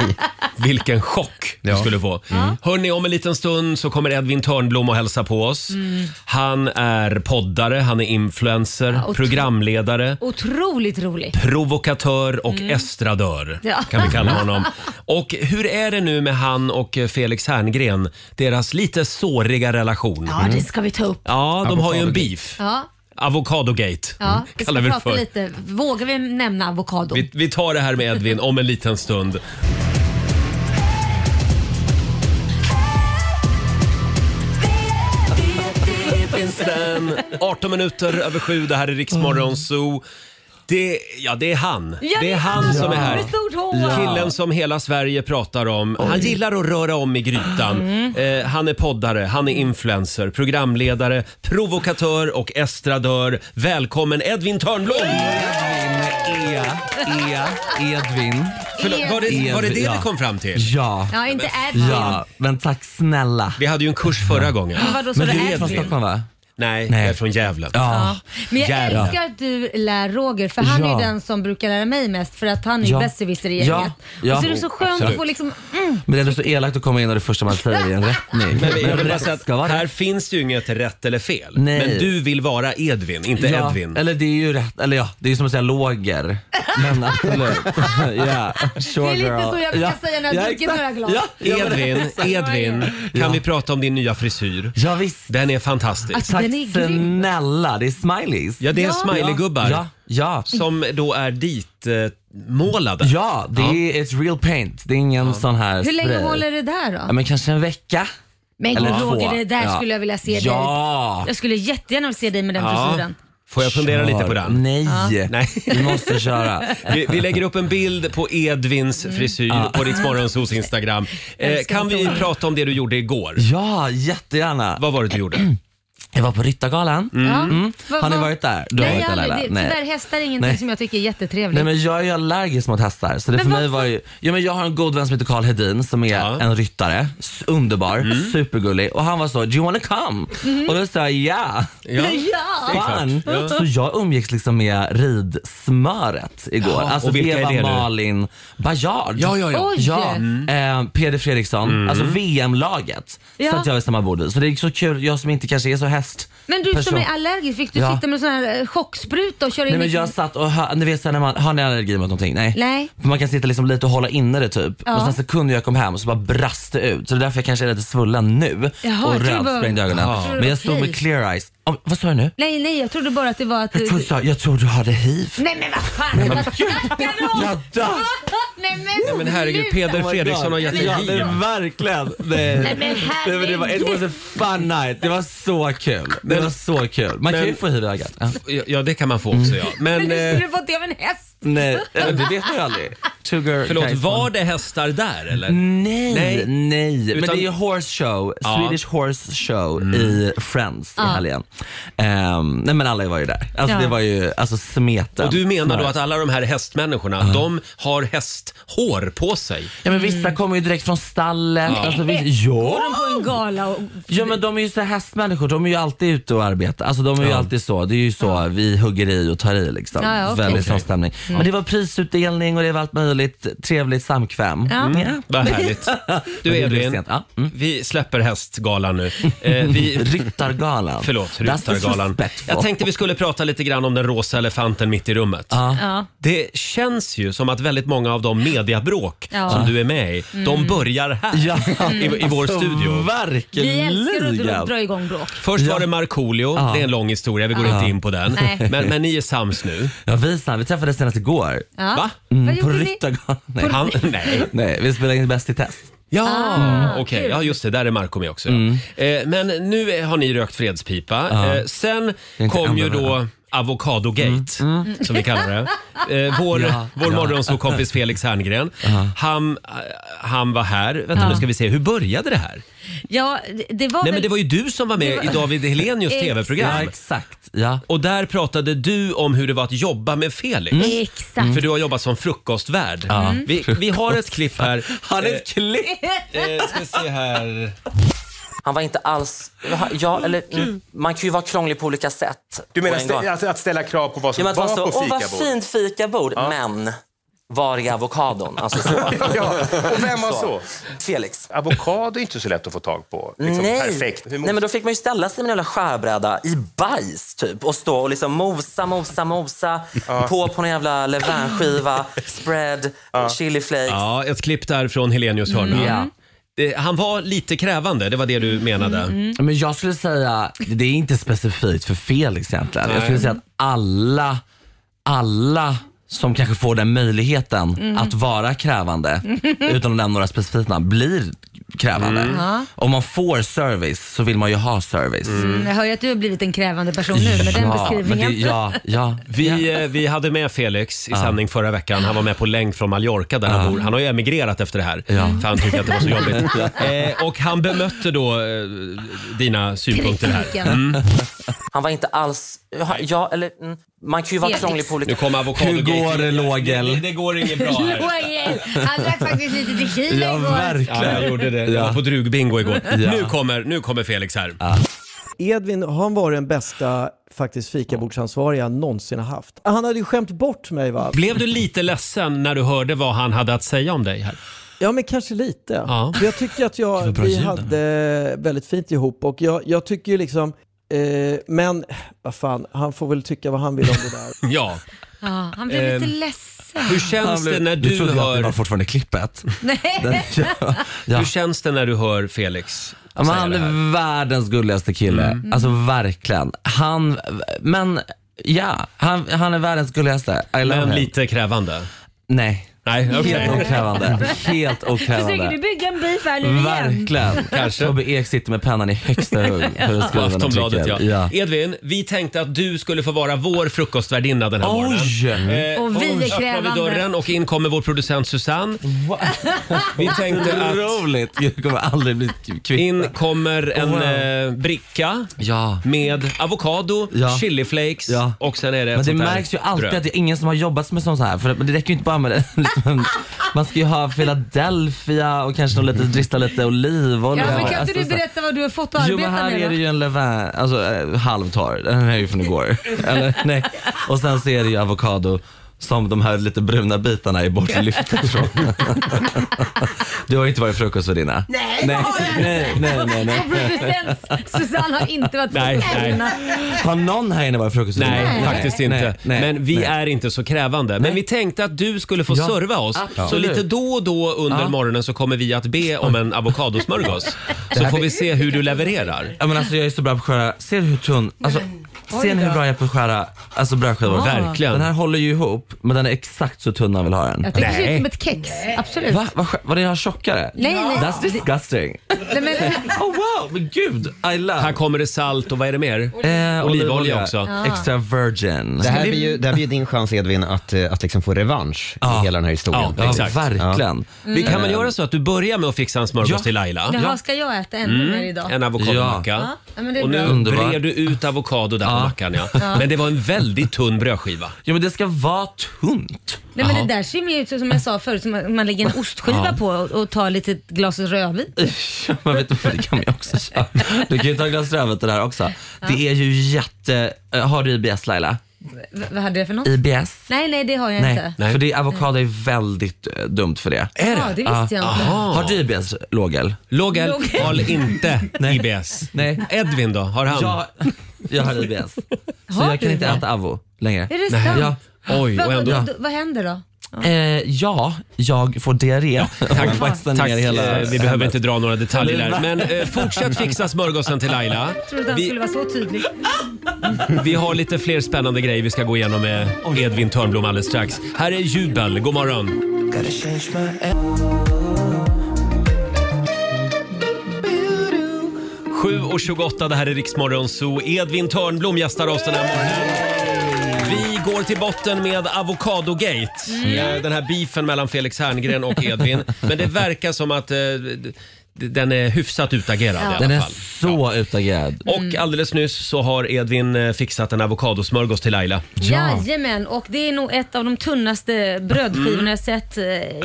Speaker 1: Vilken chock du
Speaker 6: Ja. Mm.
Speaker 1: skulle få. Hörni, om en liten stund så kommer Edvin Törnblom och hälsa på oss.
Speaker 2: Mm.
Speaker 1: Han är poddare, han är influencer,
Speaker 2: och-
Speaker 1: programledare.
Speaker 2: Otroligt rolig.
Speaker 1: Provokatör och estradör
Speaker 2: Mm. Ja.
Speaker 1: kan vi kalla honom. Och hur är det nu med han och Felix Herngren? Deras lite såriga relation.
Speaker 2: Ja, det ska vi ta upp.
Speaker 1: Ja, de har ju en
Speaker 6: Avokadogate.
Speaker 1: beef.
Speaker 2: Mm. Ja,
Speaker 1: Avokadogate
Speaker 2: ja. Vi ska
Speaker 1: Mm. kallar vi det
Speaker 2: prata
Speaker 1: för.
Speaker 2: lite. Vågar vi nämna avokado?
Speaker 1: Vi, vi tar det här med Edvin om en liten stund. klockan 18 minuter över sju. Det här är Riksmorgon Zoo. Det, ja, det är han.
Speaker 2: Ja,
Speaker 1: det är han som är här.
Speaker 2: Med stort H.
Speaker 1: Killen som hela Sverige pratar om. Han gillar att röra om i grytan.
Speaker 7: Mm.
Speaker 1: Eh, han är poddare, han är influencer, programledare, provokatör och estradör. Välkommen Edvin Törnblom!
Speaker 7: Edvin, Ea, Ea, Edvin.
Speaker 1: Förlåt, var det var det, det
Speaker 7: Ja.
Speaker 1: vi kom fram till?
Speaker 7: Ja.
Speaker 2: Ja, inte Edvin.
Speaker 7: Ja, men tack snälla.
Speaker 1: Vi hade ju en kurs förra gången.
Speaker 2: Men vadå, så
Speaker 7: Men
Speaker 2: det
Speaker 7: du
Speaker 2: är
Speaker 7: är från
Speaker 2: Edvin?
Speaker 7: Stockholm va?
Speaker 1: Nej,
Speaker 7: Nej.
Speaker 1: jag är från Gävle.
Speaker 7: Ja.
Speaker 2: Men jag
Speaker 1: Jävlar.
Speaker 2: älskar att du lär Roger för han är
Speaker 7: Ja.
Speaker 2: ju den som brukar lära mig mest för att han är ju
Speaker 7: Ja.
Speaker 2: besserwisser i gänget.
Speaker 7: Ja, ja.
Speaker 2: Och så är det så skönt
Speaker 7: Absolut.
Speaker 2: att få liksom, mm,
Speaker 7: Men det är ändå så elakt att komma in och det första man säger är en rättning.
Speaker 1: Men jag vill bara
Speaker 7: rätt
Speaker 1: säga
Speaker 7: ska vara
Speaker 1: att här finns det ju inget rätt eller fel.
Speaker 7: Nej.
Speaker 1: Men du vill vara Edvin, inte
Speaker 7: ja,
Speaker 1: Edvin.
Speaker 7: Eller det är ju rätt, eller ja, det är ju som att säga låger. Men absolut. ja, sure
Speaker 2: Det är lite
Speaker 7: girl.
Speaker 2: så jag brukar säga när jag dricker
Speaker 7: exakt.
Speaker 2: några glas.
Speaker 7: Ja, ja, men-
Speaker 1: Edvin, Edvin, kan
Speaker 7: Ja.
Speaker 1: vi prata om din nya frisyr?
Speaker 7: ja visst.
Speaker 1: Den är fantastisk.
Speaker 2: alltså,
Speaker 7: Tack
Speaker 2: den är grym.
Speaker 7: snälla, det är smileys.
Speaker 1: Ja, det är
Speaker 2: Ja.
Speaker 1: smileygubbar
Speaker 7: Ja, ja.
Speaker 1: som då är dit eh, målade.
Speaker 7: Ja, det är it's real paint. Det är ingen sån här
Speaker 2: Hur länge
Speaker 7: spray.
Speaker 2: håller det där
Speaker 7: Ja,
Speaker 2: då?
Speaker 7: men kanske en vecka.
Speaker 2: Men
Speaker 7: eller
Speaker 2: gud
Speaker 7: två.
Speaker 2: Roger, det där
Speaker 7: Ja.
Speaker 2: skulle jag vilja se dig.
Speaker 7: Ja!
Speaker 2: Jag skulle jättegärna vilja se dig med den frisyren.
Speaker 1: Får jag fundera lite på den?
Speaker 7: Nej.
Speaker 1: Nej.
Speaker 7: Vi måste köra.
Speaker 1: Vi, vi lägger upp en bild på Edvins frisyr på Rix Morgonzoos Instagram. Eh,
Speaker 2: Älskar
Speaker 1: kan
Speaker 2: inte
Speaker 1: vi
Speaker 2: honom.
Speaker 1: prata om det du gjorde igår?
Speaker 7: Ja, jättegärna.
Speaker 1: Vad var det du gjorde?
Speaker 7: Jag var på Ryttargalan.
Speaker 1: Mm.
Speaker 2: Ja. Vad-
Speaker 7: Mm. Har ni
Speaker 2: vad-
Speaker 7: varit där? Du
Speaker 2: Nej,
Speaker 7: har
Speaker 2: jag
Speaker 7: varit där
Speaker 2: har
Speaker 7: Laila?
Speaker 2: aldrig. Det-
Speaker 7: Nej.
Speaker 2: Tyvärr hästar är ingenting
Speaker 7: Nej.
Speaker 2: som jag tycker är jättetrevligt.
Speaker 7: Nej men jag är ju allergisk mot hästar så det
Speaker 2: Men
Speaker 7: för mig
Speaker 2: varför?
Speaker 7: var ju, ja, men jag har en god vän som heter Karl Hedin som är
Speaker 1: Ja. Mm.
Speaker 7: en ryttare, S- underbar, supergullig och han var så “Do you wanna come?”
Speaker 2: Mhm.
Speaker 7: och då sa jag “Ja,
Speaker 2: Ja!
Speaker 7: fan”. Så jag umgicks liksom med ridsmöret igår.
Speaker 1: Ja,
Speaker 7: Alltså
Speaker 1: och vilka
Speaker 7: det
Speaker 1: är
Speaker 7: var
Speaker 1: det nu?
Speaker 7: Malin Baryard. Ja, ja,
Speaker 2: Oj.
Speaker 1: Mm.
Speaker 7: eh, Peder Fredriksson, alltså VM-laget
Speaker 2: Ja.
Speaker 7: satt jag vid samma bord vid. Så det är så kul, jag som inte kanske är så häst
Speaker 2: Men du som
Speaker 7: person.
Speaker 2: är allergisk, fick du
Speaker 7: Ja.
Speaker 2: sitta med sån här eh, chockspruta och köra
Speaker 7: Nej
Speaker 2: in
Speaker 7: men
Speaker 2: i-
Speaker 7: jag satt och hör, ni vet så här när man, har ni allergi mot någonting? Nej.
Speaker 2: Nej.
Speaker 7: För man kan sitta liksom lite och hålla inne det typ.
Speaker 2: Ja.
Speaker 7: Och sen sekunder jag kom hem och så bara brast det ut. Så det är därför jag kanske är lite svullen nu.
Speaker 2: Jaha,
Speaker 7: och
Speaker 2: jag tror
Speaker 7: röd,
Speaker 2: bara-
Speaker 7: sprängde ögonen.
Speaker 2: Ja.
Speaker 7: Men jag stod
Speaker 2: Okej.
Speaker 7: med clear eyes. Oh, vad sa du nu?
Speaker 2: Nej, nej, jag trodde bara att det var att...
Speaker 7: Jag tror, du sa- jag tror du hade hiv.
Speaker 2: Nej men vad fan, vad snackar du om?
Speaker 7: Jag dör!
Speaker 2: Nej men,
Speaker 1: Nej, men herregud,
Speaker 2: sluta.
Speaker 1: Peder Fredriksson har gett dig
Speaker 7: Oh Ja,
Speaker 1: hiv.
Speaker 7: det verkligen. Nej.
Speaker 2: Nej, men
Speaker 7: Nej, men det var, it was a fun night. Det var så kul. Det
Speaker 1: Men-
Speaker 7: var så kul. Man kan ju
Speaker 1: men-
Speaker 7: få hiv i ögat. Ja.
Speaker 1: Ja, det kan man få också
Speaker 7: Mm.
Speaker 1: ja. Men,
Speaker 2: Men du
Speaker 1: eh,
Speaker 2: skulle fått det av en häst.
Speaker 7: Nej, det vet man ju aldrig. Two girl
Speaker 1: förlåt,
Speaker 7: guys,
Speaker 1: var det hästar där eller?
Speaker 7: Nej,
Speaker 1: Nej.
Speaker 7: nej. Men
Speaker 1: Utan-
Speaker 7: det är horse show,
Speaker 1: Ja. Mm.
Speaker 7: Swedish horse show i Friends i helgen. Ehm, nej men alla var ju där. Alltså
Speaker 2: Ja.
Speaker 7: det var ju alltså smeten.
Speaker 1: Och du menar då
Speaker 7: Smör.
Speaker 1: att alla de här hästmänniskorna, de har hästhår på sig?
Speaker 7: Ja men vissa kommer ju direkt från stallet. Alltså, vissa, ja.
Speaker 2: De på en gala och...
Speaker 7: ja men de är ju så här hästmänniskor, de är ju alltid ute och arbetar. Alltså de är ju alltid så. Det är ju så vi hugger i och tar i liksom.
Speaker 2: Ja, ja, okej. Mm.
Speaker 7: Väldigt sån stämning. Men det var prisutdelning och det var allt möjligt. Trevligt samkväm.
Speaker 2: Ja.
Speaker 7: Ja.
Speaker 1: Vad härligt. Du
Speaker 7: Det är
Speaker 1: Edvin,
Speaker 7: sent. Ja, mm.
Speaker 1: vi släpper hästgalan nu. Eh, vi...
Speaker 7: Ryttargalan.
Speaker 1: Förlåt,
Speaker 7: That's
Speaker 1: Ryttargalan.
Speaker 7: disrespectful.
Speaker 1: Jag tänkte vi skulle prata lite grann om den rosa elefanten mitt i rummet.
Speaker 7: Ja.
Speaker 2: Ja.
Speaker 1: Det känns ju som att väldigt många av de mediabråk
Speaker 2: Ja.
Speaker 1: som du är med i, de börjar här
Speaker 7: Mm. Ja,
Speaker 1: i, i vår
Speaker 7: alltså,
Speaker 1: studio.
Speaker 2: Vi älskar att dra,
Speaker 7: Verkligen.
Speaker 2: dra igång bråk.
Speaker 1: Först var det Markoolio, det är en lång historia, vi går inte in på den.
Speaker 2: Nej.
Speaker 1: Men, men ni är sams nu.
Speaker 7: Ja, vi, Sam, vi träffades senast igår.
Speaker 2: Ja.
Speaker 1: Va?
Speaker 2: Vad
Speaker 7: Mm, På
Speaker 2: gjorde ni?
Speaker 7: Ryttargalan. Nej.
Speaker 1: Han, nej.
Speaker 7: Nej, vi spelade in Bäst i test. Mm.
Speaker 1: Ja, okej.
Speaker 2: kul.
Speaker 1: Ja, just det. Där är Marco med också. Ja. Eh, men nu är- har ni rökt fredspipa. Eh, sen
Speaker 7: Ah. inte
Speaker 1: kom ju
Speaker 7: enda
Speaker 1: då Avokadogate, som vi kallar det. Eh, vår
Speaker 7: Mm. Ja,
Speaker 1: vår
Speaker 7: ja.
Speaker 1: morgonsåkompis Felix Herngren, han, eh, han var här. Vänta nu ska vi se, hur började det här?
Speaker 2: Ja, det- det var
Speaker 1: Nej men
Speaker 2: väl-
Speaker 1: det var ju du som var med i David Helenius
Speaker 2: Exakt.
Speaker 7: Ja,
Speaker 1: TV-program.
Speaker 7: exakt. Ja.
Speaker 1: Och där pratade du om hur det var att jobba med Felix.
Speaker 7: Mm.
Speaker 2: Exakt.
Speaker 1: För du har jobbat som frukostvärd. Mm. Vi, vi har ett klipp här.
Speaker 7: Han är ett klipp.
Speaker 1: Eh, ska se här.
Speaker 10: Han var inte alls... Ja, eller, mm, man kan ju vara krånglig på olika sätt. Du menar
Speaker 3: att ställa krav på vad
Speaker 10: ja, men att man står, Åh, vad fint fikabord! Men, var är avokadon? Alltså så.
Speaker 3: och vem var så?
Speaker 10: Felix.
Speaker 3: Avokado är inte så lätt att få tag på. Liksom,
Speaker 10: Nej.
Speaker 3: Perfekt.
Speaker 10: Nej, men då fick man ju ställa sig med en jävla skärbräda i bajs typ och stå och liksom mosa, mosa, mosa. På på en jävla levainskiva, spread, chili flakes.
Speaker 1: Ja, ett klipp där från Helenius hörna.
Speaker 7: Ja.
Speaker 1: Det- Han var lite krävande, det var det du menade.
Speaker 7: Mm. Men jag skulle säga, det är inte specifikt för Felix egentligen. Jag skulle säga att alla, alla som kanske
Speaker 2: Mm.
Speaker 7: får den möjligheten att vara krävande, utan att nämna några specifika namn, blir krävande.
Speaker 2: Mm. Ja.
Speaker 7: Om man får service så vill man ju ha service.
Speaker 2: Mm. Jag hör ju att du har blivit en krävande person nu med den beskrivningen.
Speaker 7: ja.
Speaker 1: Vi, eh, vi hade med Felix i sändning förra veckan. Han var med på länk från Mallorca där han bor. Han har ju emigrerat efter det här för han tyckte att det var så jobbigt. eh, och han bemötte då eh, dina synpunkter här.
Speaker 10: Kritiken.
Speaker 7: Mm.
Speaker 10: Han var inte alls... Ja, ja, eller, mm, man kan ju vara
Speaker 2: Felix.
Speaker 10: krånglig på olika...
Speaker 1: Nu kommer avokado
Speaker 7: Hur går det Lågel?
Speaker 1: Det, det går inget bra här.
Speaker 2: Noel, Han drack faktiskt lite tequila
Speaker 7: Ja,
Speaker 2: igår.
Speaker 7: verkligen.
Speaker 1: Ja, jag gjorde det. Jag var på drugbingo igår.
Speaker 7: Ja.
Speaker 1: Nu, kommer, nu kommer Felix här.
Speaker 11: Edvin, han var den bästa faktiskt fikabordsansvariga jag någonsin har haft. Han hade ju skämt bort mig va?
Speaker 1: Blev du lite ledsen när du hörde vad han hade att säga om dig här?
Speaker 11: Ja, men kanske lite.
Speaker 1: Ja.
Speaker 11: För jag tycker att jag,
Speaker 1: Gud, vad bra
Speaker 11: vi
Speaker 1: ljud.
Speaker 11: hade väldigt fint ihop och jag, jag tycker ju liksom, eh, men vad fan, han får väl tycka vad han vill om det där.
Speaker 1: Ja.
Speaker 2: Ja, han blev lite
Speaker 1: Ehm,
Speaker 7: Eh,
Speaker 2: ledsen.
Speaker 1: Hur känns det när
Speaker 7: Nu
Speaker 1: du
Speaker 7: trodde jag att det var
Speaker 1: hör...
Speaker 7: fortfarande klippet. Den,
Speaker 2: Nej.
Speaker 7: ja, ja.
Speaker 1: Hur känns det när du hör Felix
Speaker 7: Ja, men
Speaker 1: säga
Speaker 7: han
Speaker 1: det här?
Speaker 7: är världens gulligaste kille.
Speaker 1: Mm.
Speaker 7: Alltså verkligen. Han, men ja, han, han är världens gulligaste. I love
Speaker 1: Men
Speaker 7: him.
Speaker 1: lite krävande?
Speaker 7: Nej,
Speaker 1: Nej, okej.
Speaker 7: helt okrävande. Helt
Speaker 2: Försöker du
Speaker 7: okrävande.
Speaker 2: bygga en beef här nu igen?
Speaker 7: Verkligen.
Speaker 1: Kanske.
Speaker 7: Tobbe Ek sitter med pennan i högsta hugg för att
Speaker 1: På
Speaker 7: skriva en
Speaker 1: Aftonbladet
Speaker 7: artikel.
Speaker 1: ja.
Speaker 7: ja.
Speaker 1: Edvin, vi tänkte att du skulle få vara vår frukostvärdinna den här morgonen.
Speaker 7: Oj!
Speaker 1: Eh,
Speaker 2: Och vi är
Speaker 1: öppnar
Speaker 2: krävande.
Speaker 1: vi dörren och in kommer vår producent Susanne. Vi tänkte att
Speaker 7: Roligt! Jag kommer aldrig bli kvitt.
Speaker 1: in kommer en
Speaker 7: Wow.
Speaker 1: eh, bricka
Speaker 7: Ja.
Speaker 1: med avokado,
Speaker 7: Ja.
Speaker 1: chiliflakes
Speaker 7: Ja.
Speaker 1: och sen är det ett
Speaker 7: Men det
Speaker 1: sånt här
Speaker 7: märks ju alltid
Speaker 1: bröd.
Speaker 7: att det är ingen som har jobbat med sånt här. För det, men det räcker ju inte bara med det. Liksom, Man ska ju ha Philadelphia och kanske någon lite, drista lite olivolja.
Speaker 2: Ja, men kan inte
Speaker 7: Alltså,
Speaker 2: du
Speaker 7: så-
Speaker 2: berätta vad du har fått att
Speaker 7: Jo
Speaker 2: arbeta
Speaker 7: men här
Speaker 2: med?
Speaker 7: är
Speaker 2: då?
Speaker 7: det ju en levain, alltså eh, halvtorr. Den här är ju från igår. Eller, nej. Och sen så är det ju avokado som de här lite bruna bitarna är bortlyfta från. du har ju inte varit frukostvärdinna.
Speaker 9: Nej,
Speaker 7: nej, nej, nej, nej,
Speaker 2: Och
Speaker 7: nej.
Speaker 2: producent Susanne har inte varit
Speaker 1: Nej, nej.
Speaker 2: Elna.
Speaker 7: Har någon här inne varit frukostvärdinna?
Speaker 1: Nej, faktiskt inte.
Speaker 7: nej, nej,
Speaker 1: men vi
Speaker 7: nej.
Speaker 1: är inte så krävande. Men vi tänkte att du skulle få
Speaker 7: Ja,
Speaker 1: serva oss. Så
Speaker 7: absolut.
Speaker 1: lite då och då under
Speaker 7: Ja.
Speaker 1: morgonen så kommer vi att be om en avokadosmörgås. Så
Speaker 7: här
Speaker 1: får
Speaker 7: blir-
Speaker 1: vi se hur du levererar.
Speaker 7: Ja, men alltså, jag är så bra på att skära. Ser du hur tunn? Alltså, ser ni hur bra jag är på att skära alltså, brödskivor?
Speaker 1: Verkligen.
Speaker 7: Den här håller ju ihop, men den är exakt så tunn man vill ha den.
Speaker 2: Jag tycker det ser
Speaker 1: Nej.
Speaker 2: ut som ett kex. Absolut.
Speaker 7: Va? Vad skö- Var det jag tjockare?
Speaker 2: Nej, nej.
Speaker 7: That's disgusting.
Speaker 2: Nej, men,
Speaker 7: Oh wow, men gud. I love.
Speaker 1: Här kommer det salt och vad är det
Speaker 2: Mm.
Speaker 1: mer?
Speaker 7: Eh,
Speaker 1: Olivolja också.
Speaker 7: Extra virgin.
Speaker 6: Det här, blir ju, det här blir ju din chans Edvin att, eh, att liksom få revansch
Speaker 7: Ja.
Speaker 6: i hela den här historien.
Speaker 1: Ja,
Speaker 7: Ja,
Speaker 1: exakt.
Speaker 7: verkligen. Mm.
Speaker 1: Vi kan väl göra så att du börjar med att fixa en smörgås
Speaker 7: Ja. Mm.
Speaker 1: till Laila.
Speaker 2: jaha, ska jag äta ännu mer idag?
Speaker 1: En avokadomacka.
Speaker 2: Ja, men det är
Speaker 1: Och nu
Speaker 2: bra.
Speaker 7: Underbar.
Speaker 1: brer du ut avokado där på
Speaker 7: Ja.
Speaker 1: mackan ja. Men det var en väldigt tunn brödskiva.
Speaker 7: Ja, men det ska vara tunt.
Speaker 2: Nej, men det där ser mer ut som jag sa förut, som att man lägger en ostskiva på och, och tar lite glas rödvin.
Speaker 7: Ja, men vet du vad, det kan man ju också köra. Du kan ju ta ett glas rödvin till det här också. Det är ju jätte... eh, Har du IBS Laila?
Speaker 2: V- vad hade jag för något?
Speaker 7: IBS?
Speaker 2: Nej, nej, det har jag
Speaker 7: Nej,
Speaker 2: inte.
Speaker 1: Nej.
Speaker 7: för det, avokado är väldigt eh, dumt för det.
Speaker 2: Ja, det
Speaker 1: Ah,
Speaker 2: visste jag inte.
Speaker 7: Har du IBS, Lågel?
Speaker 1: Lågel
Speaker 2: Lågel.
Speaker 1: har inte IBS.
Speaker 7: Nej.
Speaker 1: Edvin då? Har han?
Speaker 7: Jag, jag har IBS. Så
Speaker 2: Har
Speaker 7: jag kan
Speaker 2: du
Speaker 7: inte
Speaker 2: det?
Speaker 7: äta avo längre.
Speaker 2: Är det sant?
Speaker 7: Ja,
Speaker 1: Oj, och
Speaker 2: Vad,
Speaker 1: ändå.
Speaker 2: vad, vad händer då?
Speaker 7: eh, ja, jag får diarré. Tack,
Speaker 1: Tack, eh, vi behöver inte dra några detaljer där. Men eh, fortsätt fixa smörgåsen till Laila.
Speaker 2: Tror du att han
Speaker 1: Vi,
Speaker 2: skulle vara så tydlig?
Speaker 1: vi har lite fler spännande grejer vi ska gå igenom med Edvin Törnblom alldeles strax. Här är Jubel, god morgon. Sju och 28, det här är Riksmorgon Zoo. Edvin Törnblom gästar oss den här morgonen. Vi går till botten med Avokadogate. Eh, Den här beefen mellan Felix Herngren och Edvin. Men det verkar som att eh, d- den är hyfsat utagerad i alla
Speaker 7: Den är
Speaker 1: fall.
Speaker 7: så utagerad.
Speaker 1: Och alldeles nyss så har Edvin eh, fixat en avokadosmörgås till Laila.
Speaker 2: Jajamän, och det är nog ett av de tunnaste brödskivorna
Speaker 1: Mm.
Speaker 2: jag sett. Eh,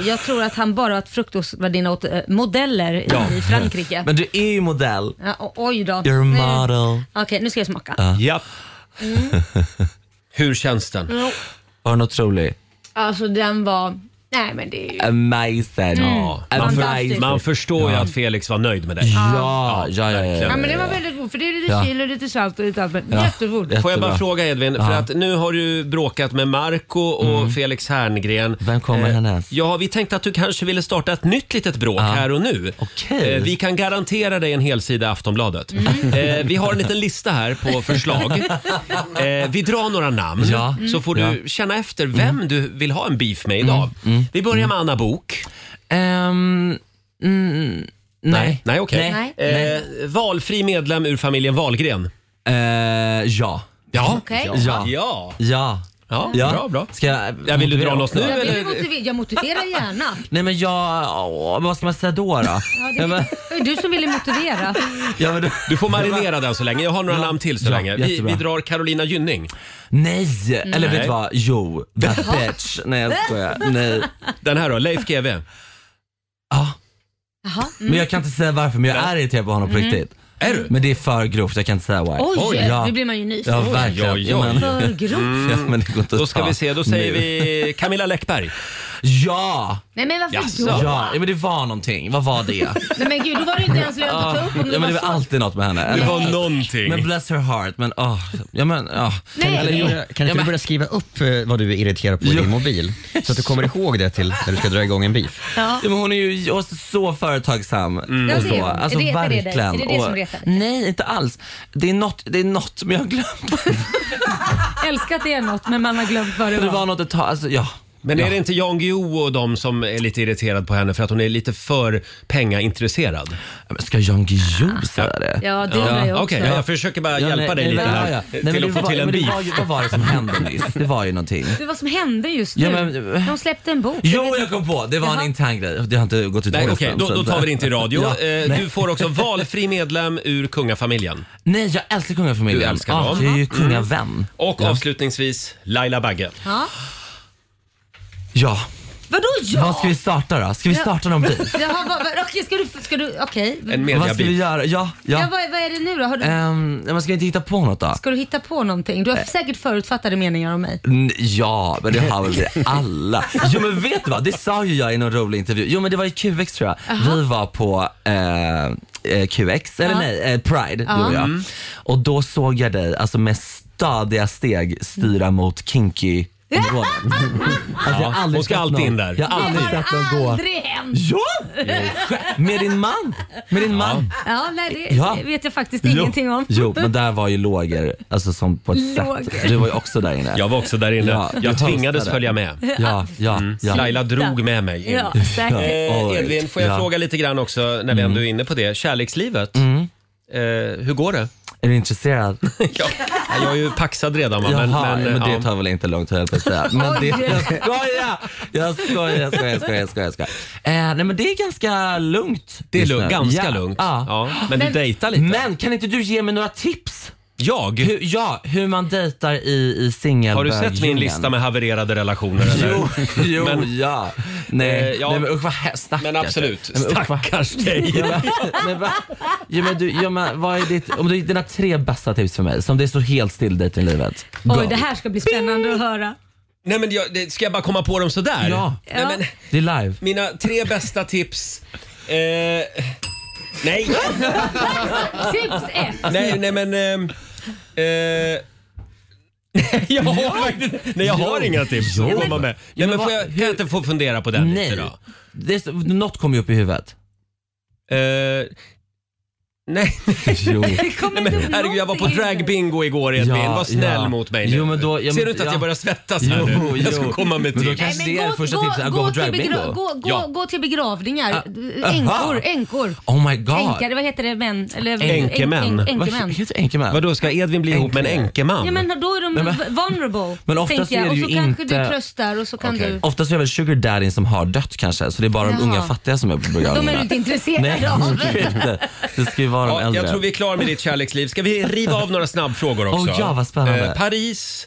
Speaker 2: Jag tror att han bara varit frukostvärdinna åt eh, modeller i-
Speaker 1: Ja.
Speaker 2: i Frankrike.
Speaker 7: Men du är ju modell.
Speaker 2: Ja, o- oj då.
Speaker 7: You're a
Speaker 2: Nu-
Speaker 7: model.
Speaker 2: Okej, nu ska jag smaka.
Speaker 1: Ja.
Speaker 7: Mm.
Speaker 1: Hur känns den?
Speaker 7: Var den otrolig?
Speaker 2: Alltså den var... Nej men det är ju...
Speaker 7: Amazing.
Speaker 1: Ja, Mm. man,
Speaker 2: Fantastiskt.
Speaker 1: för, man förstår ju att Felix var nöjd med dig.
Speaker 7: Ja, ja, ja, ja, ja,
Speaker 2: Ja,
Speaker 7: ja.
Speaker 2: men det var väldigt god för det är lite
Speaker 7: Eh, Ja.
Speaker 2: chili, lite salt och lite allt. men
Speaker 7: Ja.
Speaker 2: Jättegod.
Speaker 1: Får jag bara
Speaker 7: Jättebra.
Speaker 1: fråga Edvin, för
Speaker 7: Ja. Mm.
Speaker 1: att nu har du bråkat med Marco och Felix Herngren.
Speaker 7: Vem kommer
Speaker 1: Eh,
Speaker 7: härnäst?
Speaker 1: Ja, vi tänkte att du kanske ville starta ett nytt litet bråk här och nu.
Speaker 7: Okej.
Speaker 1: Eh, Vi kan garantera dig en hel sida i Aftonbladet. Eh, Vi har en liten lista här på förslag. Eh, Vi drar några namn
Speaker 7: Ja.
Speaker 1: så får du
Speaker 7: Ja.
Speaker 1: känna efter vem du vill ha en beef med idag. Vi börjar med Anna Bok.
Speaker 7: Ehm, mm,
Speaker 1: Nej. Nej, okej.
Speaker 10: Nej.
Speaker 1: Eh, valfri medlem ur familjen Wahlgren?
Speaker 7: Eh, ja.
Speaker 1: Ja.
Speaker 2: Okej.
Speaker 7: Ja.
Speaker 1: ja.
Speaker 7: Ja.
Speaker 1: Ja,
Speaker 7: bra,
Speaker 1: bra.
Speaker 7: Ska jag,
Speaker 1: Ja, vill du dra något nu,
Speaker 2: Jag, vill motivera, jag motiverar gärna.
Speaker 7: Nej men jag, åh, vad ska man säga då?
Speaker 2: Ja,
Speaker 7: då?
Speaker 2: det,
Speaker 7: Ja, men-
Speaker 2: det var ju du som ville motivera.
Speaker 7: Ja, men du,
Speaker 1: du får marinera den så länge. Jag har några namn till så
Speaker 7: ja,
Speaker 1: länge. Vi,
Speaker 7: jättebra.
Speaker 1: vi drar Carolina Gynning.
Speaker 7: Nej!
Speaker 1: Mm.
Speaker 7: Eller
Speaker 1: Nej.
Speaker 7: vet du vad? Jo, that
Speaker 1: Jaha.
Speaker 7: bitch. Nej jag skojar. Nej.
Speaker 1: Den här då, Leif GW. Ja.
Speaker 7: Mm.
Speaker 2: Jaha.
Speaker 7: Men jag kan inte säga varför men jag är irriterad på honom på
Speaker 2: Mm.
Speaker 7: riktigt.
Speaker 1: Är du?
Speaker 7: Men det är för grovt, jag kan inte säga why.
Speaker 2: Oj,
Speaker 7: ja.
Speaker 2: nu blir man ju nyfiken.
Speaker 7: Ja verkligen.
Speaker 1: Oj, oj, oj.
Speaker 2: För grovt.
Speaker 7: Ja, men det går inte
Speaker 1: Då
Speaker 7: att
Speaker 1: ska
Speaker 7: ta
Speaker 1: vi se, då säger
Speaker 7: nu.
Speaker 1: vi Camilla Läckberg.
Speaker 7: Ja!
Speaker 2: Nej men varför
Speaker 7: Jaså.
Speaker 2: då?
Speaker 7: Ja, ja, men det var någonting. Vad var det?
Speaker 2: Nej men gud, då var det inte ens lönt att ta
Speaker 7: Ja,
Speaker 2: upp om det
Speaker 7: ja, men det
Speaker 2: var
Speaker 7: var
Speaker 2: så.
Speaker 7: alltid något med henne.
Speaker 1: Det var någonting.
Speaker 7: Men bless her heart. Men åh. Ja, men, åh.
Speaker 2: Nej.
Speaker 6: Kan inte,
Speaker 7: jo.
Speaker 6: du- kan
Speaker 7: Ja,
Speaker 6: inte du
Speaker 7: men-
Speaker 6: börja skriva upp eh, vad du är irriterad på i din mobil? Så att du kommer ihåg det till när du ska dra igång en beef.
Speaker 2: Ja.
Speaker 7: Ja, men hon är ju också så företagsam.
Speaker 1: Mm.
Speaker 2: Ja,
Speaker 7: Och
Speaker 2: det är
Speaker 7: så.
Speaker 2: hon.
Speaker 7: Alltså,
Speaker 2: Retar det dig?
Speaker 7: verkligen.
Speaker 2: Är det det
Speaker 7: Och-
Speaker 2: som retar dig?
Speaker 7: Nej, inte alls. Det är något, det är något men jag har glömt
Speaker 2: Älskar att det är något men man har glömt vad det
Speaker 7: det. Det
Speaker 2: var.
Speaker 7: var något ett tag. Alltså, ja.
Speaker 1: Men
Speaker 7: Ja.
Speaker 1: är det inte Jan Guillou och de som är lite irriterad på henne för att hon är lite för pengaintresserad?
Speaker 7: Men ska Jan Guillou säga det?
Speaker 2: Ja, det undrar jag också.
Speaker 1: Okej, jag försöker bara hjälpa dig lite här
Speaker 7: men
Speaker 1: till
Speaker 7: det
Speaker 1: att få
Speaker 7: var-
Speaker 1: till en
Speaker 7: men det
Speaker 1: beef.
Speaker 7: var ju- Vad var det som hände nyss? Det var ju någonting.
Speaker 2: Det var som hände just nu.
Speaker 7: Ja, men-
Speaker 2: De släppte en bok.
Speaker 7: Jo, jag kom på. Det var
Speaker 2: Jaha.
Speaker 7: en intern grej. Det har inte gått ut i
Speaker 1: Nej, okej,
Speaker 7: pressen,
Speaker 1: då, då
Speaker 7: så att-
Speaker 1: tar vi det inte i radio.
Speaker 7: Ja,
Speaker 1: Eh,
Speaker 7: nej.
Speaker 1: du får också valfri medlem ur kungafamiljen.
Speaker 7: Nej, jag älskar kungafamiljen.
Speaker 1: Du älskar
Speaker 7: ja,
Speaker 1: dem.
Speaker 7: Jag är ju kungavän.
Speaker 1: Och avslutningsvis Laila Bagge.
Speaker 2: Ja.
Speaker 7: Ja.
Speaker 2: Vadå ja?
Speaker 7: Vad ska vi starta då? Ska vi
Speaker 2: Ja.
Speaker 7: starta någon beef?
Speaker 2: Jaha, vad, vad, okej, ska du... Ska du okej.
Speaker 1: En
Speaker 7: Vad ska vi
Speaker 1: mediabil.
Speaker 7: göra? Ja,
Speaker 2: Ja,
Speaker 7: ja.
Speaker 2: vad, vad är det nu då? Har du,
Speaker 7: Ehm, man ska inte hitta på något då?
Speaker 2: Ska du hitta på någonting? Du har säkert förutfattade meningar om mig.
Speaker 7: N- Ja, men det har väl vi alla. Jo men vet du vad, det sa ju jag i någon rolig intervju. Jo men det var i QX tror jag. Vi var på eh, eh, QX, eller
Speaker 2: Ja.
Speaker 7: nej, eh, Pride, du och jag. Och då såg jag dig alltså med stadiga steg styra mot kinky områden. Alltså, jag har
Speaker 1: Ja,
Speaker 7: aldrig
Speaker 1: hon ska
Speaker 7: sett
Speaker 1: alltid
Speaker 7: någon-
Speaker 1: in där.
Speaker 7: Jag har aldrig
Speaker 2: det
Speaker 7: sett någon
Speaker 2: har
Speaker 7: gå.
Speaker 2: aldrig hänt.
Speaker 7: Jo! Skä- Med din man. Med din man.
Speaker 2: Ja, nej, det
Speaker 7: Ja.
Speaker 2: vet jag faktiskt
Speaker 7: Jo.
Speaker 2: ingenting om.
Speaker 7: Jo, men där var ju lågor, alltså som på ett
Speaker 2: Lågor.
Speaker 7: sätt. Du var ju också där inne.
Speaker 1: Jag var också där inne.
Speaker 7: Ja,
Speaker 1: jag
Speaker 7: du
Speaker 1: tvingades
Speaker 7: hostade.
Speaker 1: följa med.
Speaker 7: Ja, ja, ja.
Speaker 1: Mm. Laila drog med mig in.
Speaker 2: Ja, säkert.
Speaker 1: Eh,
Speaker 7: Oj.
Speaker 1: Edvin, får jag
Speaker 7: Ja. Mm.
Speaker 1: fråga lite grann också när vi ändå är inne på det. Kärlekslivet, eh, hur går det?
Speaker 7: Är du intresserad?
Speaker 1: Ja. Jag är ju paxad redan va?
Speaker 7: Jaha, men, det
Speaker 1: ja.
Speaker 7: tar väl inte lång tid höll jag på att säga. Men det, jag skojar! Jag skojar, jag skojar, jag skojar. Jag skojar, jag skojar. Eh, nej men det är ganska lugnt
Speaker 1: Det är
Speaker 7: just nu.
Speaker 1: lugnt, ganska
Speaker 7: Ja.
Speaker 1: lugnt.
Speaker 7: Ja.
Speaker 1: Ja. Men du
Speaker 2: Men-
Speaker 1: dejtar lite?
Speaker 7: Men kan inte du ge mig några tips?
Speaker 1: Jag?
Speaker 7: Hur, ja, hur man dejtar i, i singelbög
Speaker 1: Har du sett min lista med havererade relationer? Eller?
Speaker 7: Jo, jo
Speaker 1: Men-
Speaker 7: ja. Nej,
Speaker 1: Eh, ja.
Speaker 7: nej men usch vad hä- stackars.
Speaker 1: Men absolut,
Speaker 7: Nej, men usch, vad-
Speaker 1: stackars dig.
Speaker 7: Ja, men- men va? Ja, men du, ja, men vad är ditt, om du, dina tre bästa tips för mig som det står helt still dejt i livet? Go.
Speaker 2: Oj, det här ska bli spännande att höra.
Speaker 1: Nej men jag, det- ska jag bara komma på dem sådär?
Speaker 7: Ja.
Speaker 1: Nej, men,
Speaker 7: Det är live.
Speaker 1: mina tre bästa tips. Eh, nej,
Speaker 2: Tips ett.
Speaker 1: nej, nej men... ehm, eh, nej, jag har faktiskt nej, jag har
Speaker 7: Jo.
Speaker 1: inga tips
Speaker 7: Jo.
Speaker 1: att komma med. Nej, men
Speaker 7: men
Speaker 1: får
Speaker 7: vad-
Speaker 1: jag, kan jag inte få fundera på den
Speaker 7: Nej.
Speaker 1: lite då?
Speaker 7: Det är, så- något kommer ju upp i huvudet.
Speaker 1: Eh, nej,
Speaker 7: Jo.
Speaker 2: Det kommer
Speaker 1: men,
Speaker 2: inte upp
Speaker 1: herregud jag var på
Speaker 2: någonting.
Speaker 1: dragbingo igår Edvin.
Speaker 7: Ja,
Speaker 1: Var snäll
Speaker 7: ja.
Speaker 1: mot mig nu.
Speaker 7: Jo, men då- ja,
Speaker 1: Ser
Speaker 7: men-
Speaker 1: du inte att
Speaker 7: ja.
Speaker 1: jag börjar svettas här nu? Jag ska komma med
Speaker 7: Men då
Speaker 1: tips.
Speaker 2: Nej,
Speaker 7: kanske
Speaker 2: men
Speaker 7: det är första tipset, att gå på
Speaker 2: till begra-
Speaker 7: dragbingo.
Speaker 2: gå, gå,
Speaker 1: Ja.
Speaker 2: gå till begravningar. Eh,
Speaker 7: Ah.
Speaker 2: Änkor,
Speaker 7: Aha.
Speaker 2: änkor.
Speaker 7: Oh my god.
Speaker 2: Änkare, vad heter det? Män? Eller,
Speaker 1: Änkemän.
Speaker 2: Änk-
Speaker 7: Vad
Speaker 2: Änkemän.
Speaker 7: heter det? Änkemän?
Speaker 1: Vadå, ska Edvin bli ihop med en änkeman?
Speaker 2: Ja men då är de
Speaker 7: Nej, men-
Speaker 2: vulnerable.
Speaker 7: Men oftast
Speaker 2: tänker jag.
Speaker 7: är det ju
Speaker 2: Och så kanske
Speaker 7: inte-
Speaker 2: du tröstar och så kan
Speaker 1: Okej.
Speaker 2: du...
Speaker 7: Oftast är det väl sugar daddy som har dött kanske, så det är bara
Speaker 2: Jaha.
Speaker 7: de unga fattiga som är på
Speaker 2: De är du
Speaker 7: begravningarna.
Speaker 2: inte
Speaker 7: Nej,
Speaker 2: intresserade av.
Speaker 7: inte. det ska ju vara de
Speaker 1: Ja,
Speaker 7: äldre.
Speaker 1: jag tror vi är klara med ditt kärleksliv. Ska vi riva av några snabbfrågor också? Eh,
Speaker 7: Åh, ja, vad spännande.
Speaker 1: Paris,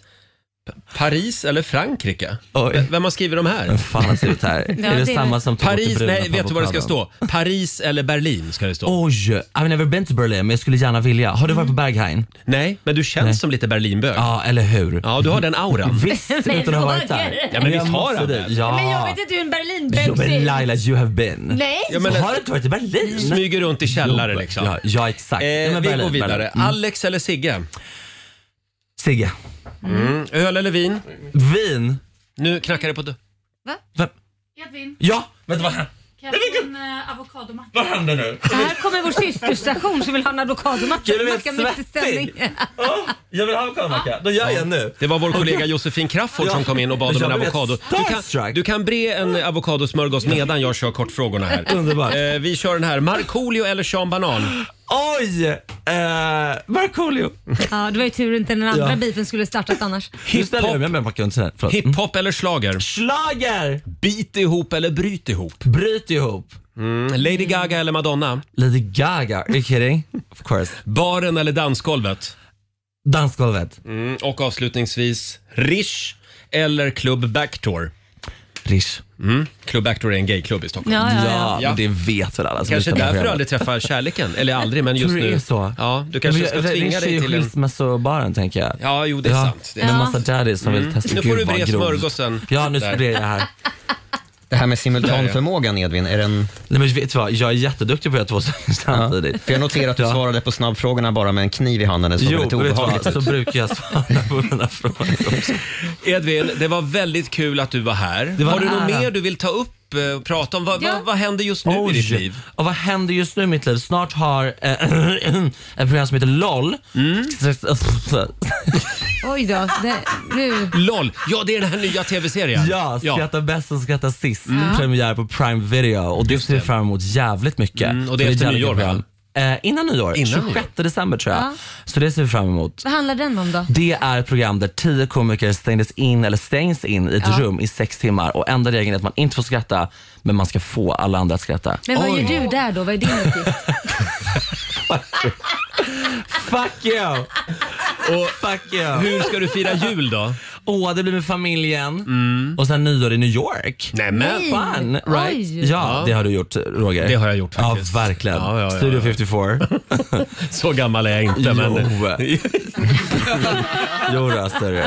Speaker 1: P- Paris eller Frankrike?
Speaker 7: Oj.
Speaker 1: V- Vem har skrivit de här?
Speaker 7: Vem fan har skrivit här?
Speaker 2: Ja,
Speaker 7: är det,
Speaker 2: det är-
Speaker 7: samma som tog
Speaker 1: Paris,
Speaker 7: till bruna
Speaker 1: nej
Speaker 7: på
Speaker 1: vet du vad det ska
Speaker 7: avokaden?
Speaker 1: stå? Paris eller Berlin ska det stå.
Speaker 7: Oj, I've never been to Berlin men jag skulle gärna vilja. Har du varit på Berghain?
Speaker 1: Nej, men du känns som lite Berlinbög. Mm. Ja.
Speaker 7: Ja, Mm. eller hur?
Speaker 1: du har den auran.
Speaker 7: Visst, utan att ha varit
Speaker 2: Roger.
Speaker 7: där.
Speaker 1: Ja, men visst har
Speaker 7: måste
Speaker 1: han
Speaker 7: dit.
Speaker 1: det?
Speaker 7: Ja.
Speaker 2: Men jag vet inte hur en berlin
Speaker 7: Jo men
Speaker 2: är.
Speaker 7: Laila, you have been.
Speaker 2: Nej.
Speaker 1: Ja, men-
Speaker 7: har du inte varit i Berlin?
Speaker 1: Smyger runt i källare
Speaker 7: Jo,
Speaker 1: liksom.
Speaker 7: Ja, ja exakt.
Speaker 1: Eh,
Speaker 7: ja, men
Speaker 1: vi
Speaker 7: Berlin,
Speaker 1: går vidare.
Speaker 7: Berlin. Mm.
Speaker 1: Alex eller Sigge?
Speaker 7: Sigge.
Speaker 1: Mm. Öl eller vin?
Speaker 7: Vin.
Speaker 1: Nu knackar det på dörren.
Speaker 7: Vem? Ja, vänta vad
Speaker 12: Kan jag få en eh, avokadomacka?
Speaker 10: Vad händer nu?
Speaker 2: Här kommer vår systerstation som vill ha en avokadomacka.
Speaker 10: Gud, jag är
Speaker 2: Macka mitt i sändning.
Speaker 10: Jag vill ha avokadomacka. Då gör jag nu.
Speaker 1: Det var vår kollega Josefin Crafoord som kom in och bad om
Speaker 10: Jag
Speaker 1: en
Speaker 10: blev
Speaker 1: avokado. Du kan, du kan bre en avokadosmörgås medan jag kör kortfrågorna här.
Speaker 10: Underbart.
Speaker 1: Eh, vi kör den här. Markoolio eller Sean Banan?
Speaker 10: Oj! Eh, Markoolio.
Speaker 2: Ja, det var ju tur inte den andra
Speaker 10: Ja.
Speaker 2: bifen skulle startat annars.
Speaker 10: Nu ställer jag mig med backen sen. Förlåt.
Speaker 1: Hiphop eller slager?
Speaker 10: Slager!
Speaker 1: Bit ihop eller bryt ihop? Mm,
Speaker 10: Bryt ihop.
Speaker 1: Lady Gaga eller Madonna?
Speaker 10: Lady Gaga. Are you kidding? Of course.
Speaker 1: Baren eller dansgolvet?
Speaker 10: Dansgolvet.
Speaker 1: Mm, och avslutningsvis, Rish eller Club Backdoor?
Speaker 10: Rish.
Speaker 1: Mm. Club Backdoor är en gayklubb i Stockholm.
Speaker 10: Ja, ja, ja. Ja, men det vet väl alla som lyssnar
Speaker 1: Kanske
Speaker 10: på
Speaker 1: därför du
Speaker 10: programmet.
Speaker 1: aldrig träffar kärleken. Eller aldrig, men just
Speaker 10: Tror du det
Speaker 1: nu.
Speaker 10: är så?
Speaker 1: Ja, du kanske
Speaker 10: Men
Speaker 1: ska
Speaker 10: det-
Speaker 1: tvinga
Speaker 10: Det är
Speaker 1: dig
Speaker 10: ju
Speaker 1: till en...
Speaker 10: skilsmässobaren tänker jag.
Speaker 1: Ja, jo det är sant. Det är
Speaker 10: Med
Speaker 1: sant.
Speaker 10: massa daddies som
Speaker 1: Mm.
Speaker 10: vill testa.
Speaker 1: Nu
Speaker 10: Gud,
Speaker 1: får du
Speaker 10: vad
Speaker 1: bre
Speaker 10: grovt.
Speaker 1: smörgåsen.
Speaker 10: Ja, nu
Speaker 1: Där.
Speaker 10: brer jag här.
Speaker 7: Det här med simultanförmågan Edvin, är den...
Speaker 10: Nej men vet du vad, jag är jätteduktig på att göra två saker samtidigt.
Speaker 7: För jag noterar att du svarade på snabbfrågorna bara med en kniv i handen. Det såg
Speaker 10: Jo,
Speaker 7: väldigt
Speaker 10: vet du
Speaker 7: obehagligt
Speaker 10: vad,
Speaker 7: ut.
Speaker 10: så brukar jag svara på mina frågor också.
Speaker 1: Edvin, det var väldigt kul att du var här.
Speaker 10: Det var
Speaker 1: Har du
Speaker 10: en
Speaker 1: något
Speaker 10: ära.
Speaker 1: mer du vill ta upp eh, och prata om? Vad,
Speaker 10: Ja.
Speaker 1: vad, vad händer just nu i ditt
Speaker 10: Oj.
Speaker 1: liv?
Speaker 10: Och vad händer just nu i mitt liv? Snart har eh, en program som heter LOL.
Speaker 1: Mm.
Speaker 2: Oj då. Det, nu.
Speaker 1: LOL, ja det är den här nya tv-serien.
Speaker 10: Ja, skratta bäst som skrattar sist.
Speaker 1: Mm.
Speaker 10: Premiär på Prime Video och det ser vi fram emot jävligt mycket.
Speaker 1: Mm, och det är
Speaker 10: För
Speaker 1: efter
Speaker 10: ett jävligt
Speaker 1: nyår,
Speaker 10: bra
Speaker 1: va?
Speaker 10: program. Eh, innan nyår,
Speaker 1: Innan
Speaker 10: 26 december tror jag.
Speaker 2: Ja.
Speaker 10: Så det ser vi fram emot.
Speaker 2: Vad handlar den om då?
Speaker 10: Det är ett program där tio komiker stängdes in eller stängs in i ett
Speaker 2: Ja.
Speaker 10: rum i sex timmar och enda regeln är att man inte får skratta men man ska få alla andra att skratta.
Speaker 2: Men vad gör du där då? Vad är din uppgift?
Speaker 10: Fuck you! Fuck you!
Speaker 1: Hur ska du fira jul då?
Speaker 10: Åh, det blir med familjen och sen nyår i New York.
Speaker 1: Nämen!
Speaker 10: Fun,
Speaker 1: Oj.
Speaker 10: right? Ja,
Speaker 1: Ja.
Speaker 10: det har du gjort Roger.
Speaker 1: Det har jag gjort faktiskt.
Speaker 10: Ja, verkligen.
Speaker 1: Ja, ja, ja,
Speaker 10: Studio
Speaker 1: ja.
Speaker 10: 54.
Speaker 1: Så gammal är jag inte men...
Speaker 10: Jo. jo, då, sorry.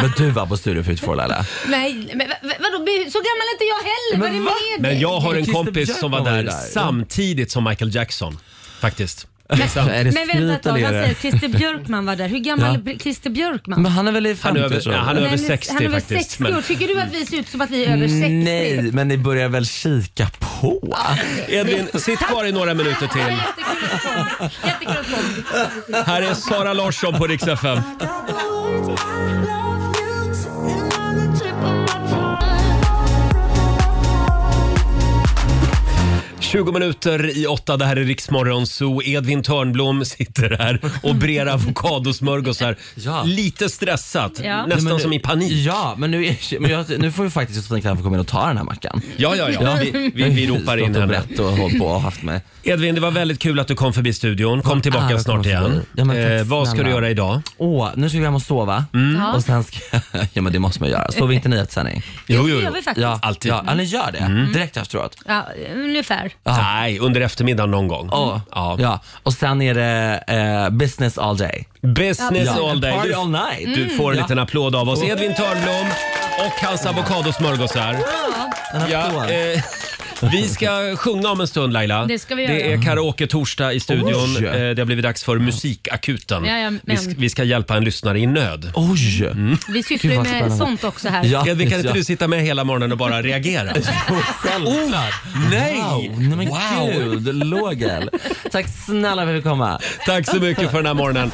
Speaker 10: Men du var på Studio 54 Laila.
Speaker 2: Nej, men v- v- vadå? Så gammal är inte jag heller. vad är det med dig?
Speaker 1: Men jag har en
Speaker 10: Christer
Speaker 1: kompis som var
Speaker 10: Björkman
Speaker 1: där
Speaker 10: var ju där.
Speaker 1: samtidigt som Michael Jackson. Faktiskt. Det är sant.
Speaker 2: Men vänta ett tag, han säger att Christer Björkman var där. Hur gammal
Speaker 1: Ja.
Speaker 2: är Christer Björkman?
Speaker 10: han är väl i
Speaker 1: Han är över, ja, han är över
Speaker 2: Men
Speaker 1: 60
Speaker 2: han är över
Speaker 1: faktiskt.
Speaker 2: 60 år. Tycker du att vi ser ut som att vi är över 60?
Speaker 10: Nej, men ni börjar väl kika på?
Speaker 1: Edvin, sitt kvar i några minuter till. Här är Sara Larsson på Rix FM.
Speaker 8: typ Love
Speaker 1: 20 minuter i åtta, det här är Riksmorgon Zoo. Edvin Törnblom sitter här och brer avokadosmörgåsar. Lite stressat,
Speaker 10: Ja. Nej,
Speaker 1: nästan
Speaker 10: men nu-
Speaker 1: som i panik.
Speaker 10: Ja, men nu, är, men jag, nu får ju faktiskt Josefin Crafoord komma in och ta den här mackan.
Speaker 1: Ja, ja, ja. Vi, vi, vi ropar in
Speaker 10: Stått och
Speaker 1: henne.
Speaker 10: brett och hållit på och haft med.
Speaker 1: Edvin, det var väldigt kul att du kom förbi studion. Kom
Speaker 10: Ah,
Speaker 1: tillbaka
Speaker 10: jag
Speaker 1: snart
Speaker 10: kommer
Speaker 1: igen.
Speaker 10: förbi. Ja, men tack
Speaker 1: eh, vad ska du
Speaker 10: snälla.
Speaker 1: göra idag?
Speaker 10: Åh, nu ska jag hem och sova.
Speaker 1: Ja.
Speaker 10: Och sen ska Ja men det måste man göra. Sover inte ni i ett sändning?
Speaker 1: Jo, jo, Det gör vi
Speaker 2: faktiskt.
Speaker 10: Ja, alltid. Ja, ja, ni gör det?
Speaker 1: Mm.
Speaker 10: Direkt efteråt?
Speaker 2: Ja, ungefär.
Speaker 1: Nej, under eftermiddagen någon gång.
Speaker 10: Ja. ja. Och sen är det eh, business all day.
Speaker 1: Business
Speaker 10: Ja.
Speaker 1: all day.
Speaker 10: Party
Speaker 1: Du-
Speaker 10: all night.
Speaker 2: Mm.
Speaker 1: Du Mm. får en
Speaker 10: Ja.
Speaker 1: liten applåd av oss. Edvin Törnblom och hans avokadosmörgåsar. Ja, eh, vi ska sjunga om en stund Laila.
Speaker 2: Det ska vi
Speaker 1: det
Speaker 2: göra.
Speaker 1: är karaoke-torsdag i studion.
Speaker 10: Oj. Mm.
Speaker 1: Eh, Det har blivit dags för musikakuten.
Speaker 2: Jajamän.
Speaker 1: Vi, sk- vi ska hjälpa en lyssnare i nöd.
Speaker 10: Oj!
Speaker 1: Mm.
Speaker 2: Vi sysslar ju med sånt också här.
Speaker 1: Edvin, kan inte
Speaker 10: ja.
Speaker 1: du sitta med hela morgonen och bara reagera?
Speaker 10: Självklart.
Speaker 1: nej!
Speaker 10: Wow. Nej men gud, Lågel. Tack snälla för att vi fick komma.
Speaker 1: Tack så mycket för den här morgonen.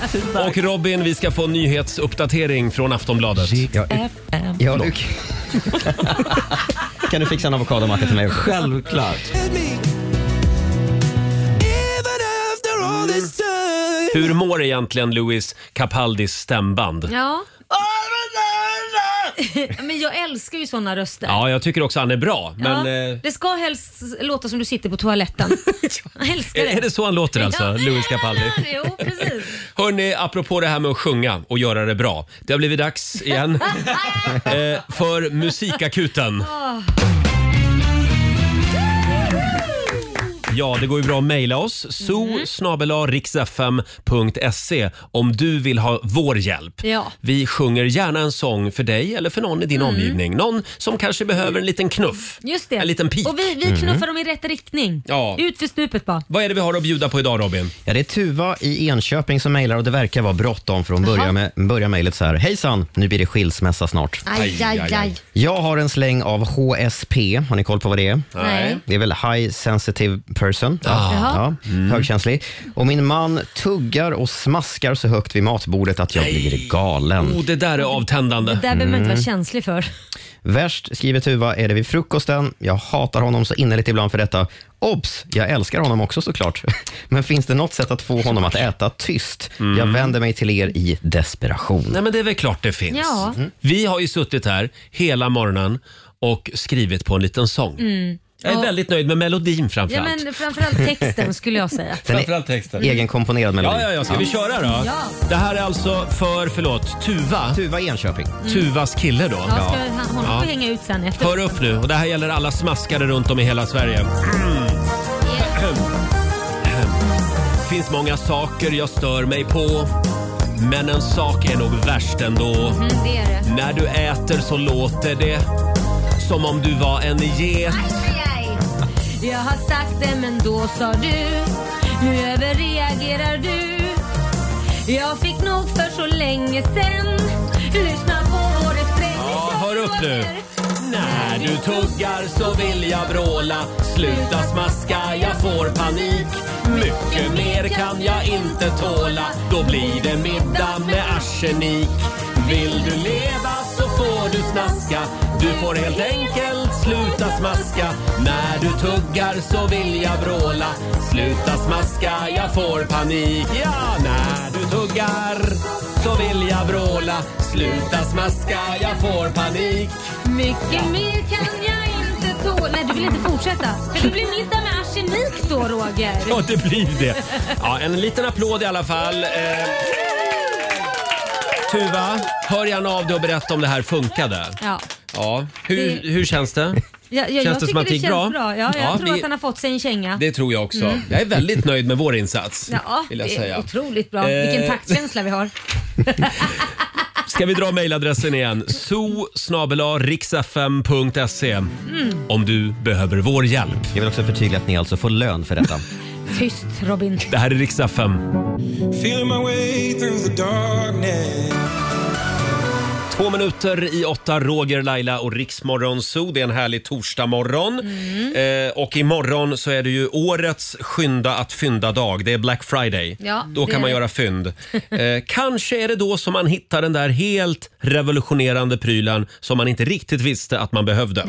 Speaker 1: Och Robin, vi ska få en nyhetsuppdatering från Aftonbladet.
Speaker 7: Ja, du... kan du fixa en avokadomacka till mig också?
Speaker 10: Självklart.
Speaker 1: Hur mår egentligen Louis Capaldis stämband?
Speaker 2: Ja. Men jag älskar ju såna röster.
Speaker 1: Ja, jag tycker också han är bra.
Speaker 2: Ja,
Speaker 1: Men eh,
Speaker 2: det ska helst låta som du sitter på toaletten. Jag älskar det.
Speaker 1: är, är det så han låter alltså,
Speaker 2: Ja, men
Speaker 1: Louis Capaldi?
Speaker 2: Jo, precis.
Speaker 1: Hörni, apropå det här med att sjunga och göra det bra. Det har blivit dags igen eh, för Musikakuten.
Speaker 2: Åh.
Speaker 1: Ja, det går ju bra att mejla
Speaker 2: Mhm.
Speaker 1: oss. zoo.riksfm.se om du vill ha vår hjälp.
Speaker 2: Ja. Mm.
Speaker 1: Vi sjunger gärna en sång för dig eller för någon i din omgivning. Någon som kanske behöver en liten knuff.
Speaker 2: Just det.
Speaker 1: En liten pik.
Speaker 2: Och vi, vi knuffar
Speaker 1: Mm.
Speaker 2: dem i rätt riktning.
Speaker 1: Ja.
Speaker 2: Ut för stupet bara.
Speaker 1: Vad är det vi har att bjuda på idag Robin?
Speaker 6: Ja, det är Tuva i Enköping som mejlar och det verkar vara bråttom för hon börjar, med, börjar mejlet så här. Hejsan, nu blir det skilsmässa snart.
Speaker 8: Aj, aj, aj. aj.
Speaker 6: Jag har en släng av HSP. Har ni koll på vad det är?
Speaker 8: Nej.
Speaker 6: Det är väl High Sensitive Person.
Speaker 8: Ah. Jaha.
Speaker 6: Ja,
Speaker 1: Mm.
Speaker 6: Högkänslig. Och min man tuggar och smaskar så högt vid matbordet att jag blir galen.
Speaker 1: Oh, det där är avtändande.
Speaker 2: Det där behöver man inte vara
Speaker 6: Mm.
Speaker 2: känslig för.
Speaker 6: Värst, skriver Tuva, är det vid frukosten. Jag hatar honom så innerligt ibland för detta. Obs! Jag älskar honom också såklart. Men finns det något sätt att få honom att äta tyst?
Speaker 1: Mm.
Speaker 6: Jag vänder mig till er i desperation.
Speaker 1: Nej, men det är väl klart det finns.
Speaker 2: Ja. Mm.
Speaker 1: Vi har ju suttit här hela morgonen och skrivit på en liten sång.
Speaker 2: Mm.
Speaker 1: Jag är
Speaker 2: Ja.
Speaker 1: väldigt nöjd med melodin
Speaker 2: Ja,
Speaker 1: framförallt.
Speaker 2: men framförallt texten skulle jag säga.
Speaker 1: Framförallt texten.
Speaker 6: Egenkomponerad melodi.
Speaker 1: Ja, ja, ja. Ska vi köra då?
Speaker 2: Ja.
Speaker 1: Det här är alltså för, förlåt, Tuva.
Speaker 6: Tuva Enköping.
Speaker 1: Tuvas kille då.
Speaker 2: Mm. Ja, ska han, honom
Speaker 1: Ja.
Speaker 2: får hänga ut sen efter.
Speaker 1: Hör upp nu, och det här gäller alla smaskare runt om i hela Sverige. Mm. finns många saker jag stör mig på. Men en sak är nog värst ändå.
Speaker 2: Mm, det är det.
Speaker 1: När du äter så låter det som om du var en get.
Speaker 2: Aj, aj. Jag har sagt det men då sa du Nu överreagerar du Jag fick nog för så länge sen Lyssna på vår refräng
Speaker 1: Ja, hör upp nu. När du tuggar så vill jag vråla. Sluta smaska, jag får panik. Mycket mer kan jag inte tåla. Då blir det middag med arsenik. Vill du leva så får du snaska. Du får helt enkelt sluta smaska. När du tuggar så vill jag vråla. Sluta smaska, jag får panik. Ja, när du tuggar så vill jag vråla. Sluta smaska, jag får panik.
Speaker 2: Mycket mer kan jag inte tåla Nej du vill inte fortsätta För det blir middag med arsenik då Roger
Speaker 1: Ja, det blir det. Ja, en liten applåd i alla fall. Eh, Tuva, hör gärna av dig och berätta om det här funkade.
Speaker 2: Ja,
Speaker 1: Ja, hur, hur känns det?
Speaker 2: ja, ja, jag
Speaker 1: Känns det
Speaker 2: tycker
Speaker 1: som att
Speaker 2: det
Speaker 1: det gick
Speaker 2: känns bra.
Speaker 1: bra?
Speaker 2: Ja, jag
Speaker 1: Ja,
Speaker 2: tror
Speaker 1: vi-
Speaker 2: att han har fått sig en känga.
Speaker 1: Det tror jag också.
Speaker 2: Mm.
Speaker 1: Jag är väldigt nöjd med vår insats.
Speaker 2: Ja,
Speaker 1: vill jag
Speaker 2: det är
Speaker 1: säga.
Speaker 2: otroligt bra.
Speaker 1: Eh.
Speaker 2: Vilken taktkänsla vi har.
Speaker 1: Ska vi dra mejladressen igen? so
Speaker 2: Mm.
Speaker 1: Om du behöver vår hjälp.
Speaker 6: Jag vill också förtydliga att ni alltså får lön för detta.
Speaker 2: Tyst Robin.
Speaker 1: Det här är riksdag 5. Två minuter i åtta, Roger, Laila och Riksmorgon Zoo. Det är en härlig torsdagmorgon.
Speaker 2: Mm.
Speaker 1: Eh, och imorgon så är det ju årets skynda att fynda-dag. Det är Black Friday.
Speaker 2: Ja,
Speaker 1: då
Speaker 2: det
Speaker 1: kan
Speaker 2: är
Speaker 1: man
Speaker 2: det.
Speaker 1: göra fynd. Eh, kanske är det då som man hittar den där helt revolutionerande prylen som man inte riktigt visste att man behövde.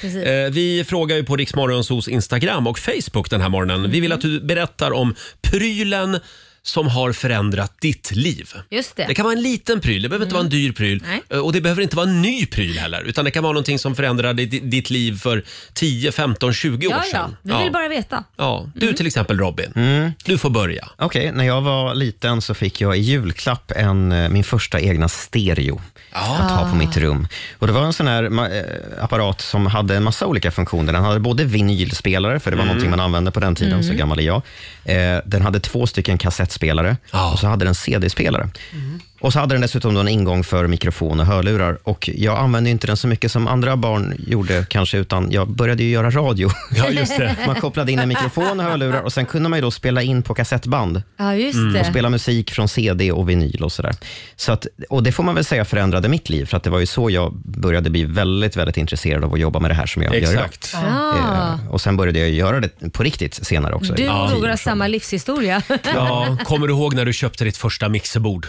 Speaker 2: Precis.
Speaker 1: Eh, Vi frågar ju på Riksmorgonsos Instagram och Facebook den här morgonen. Vi vill
Speaker 2: Mm.
Speaker 1: att du berättar om prylen som har förändrat ditt liv.
Speaker 2: Just det. Mm.
Speaker 1: Det kan vara en liten pryl, det behöver inte vara en dyr pryl.
Speaker 2: Nej.
Speaker 1: Eh, Och det behöver inte vara en ny pryl heller. Utan det kan vara någonting som förändrade di- ditt liv för 10, 15, 20 år
Speaker 2: Ja, ja.
Speaker 1: sedan.
Speaker 2: Vi vill bara Mm. veta.
Speaker 1: Ja. Du till exempel Robin,
Speaker 6: Mm.
Speaker 1: du får börja.
Speaker 6: Okej, när jag var liten så fick jag i julklapp en, eh, min första egna stereo att
Speaker 11: Ah.
Speaker 6: ha på mitt rum. Och Det var en sån här ma- eh, apparat som hade en massa olika funktioner. Den hade både vinylspelare, för det var
Speaker 11: Mm.
Speaker 6: någonting man använde på den tiden, så
Speaker 11: Mm.
Speaker 6: gammal är jag. Eh, den hade två stycken kassettspelare
Speaker 11: Ah.
Speaker 6: och så hade den CD-spelare.
Speaker 11: Mm.
Speaker 6: Och så hade den dessutom då en ingång för mikrofon och hörlurar. Och jag använde ju inte den så mycket som andra barn gjorde kanske, utan jag började ju göra radio.
Speaker 1: Ja, just det.
Speaker 6: Man kopplade in en mikrofon och hörlurar och sen kunde man ju då spela in på kassettband.
Speaker 2: Ja, just det.
Speaker 6: Och spela musik från CD och vinyl och sådär. Så att, och det får man väl säga förändrade mitt liv, för att det var ju så jag började bli väldigt, väldigt intresserad av att jobba med det här som jag gör idag.
Speaker 1: Exakt.
Speaker 2: Ah.
Speaker 6: Eh, Och sen började jag göra det på riktigt senare också.
Speaker 2: Du och Roger
Speaker 6: Ja.
Speaker 2: har samma livshistoria.
Speaker 1: Ja, kommer du ihåg när du köpte ditt första mixerbord?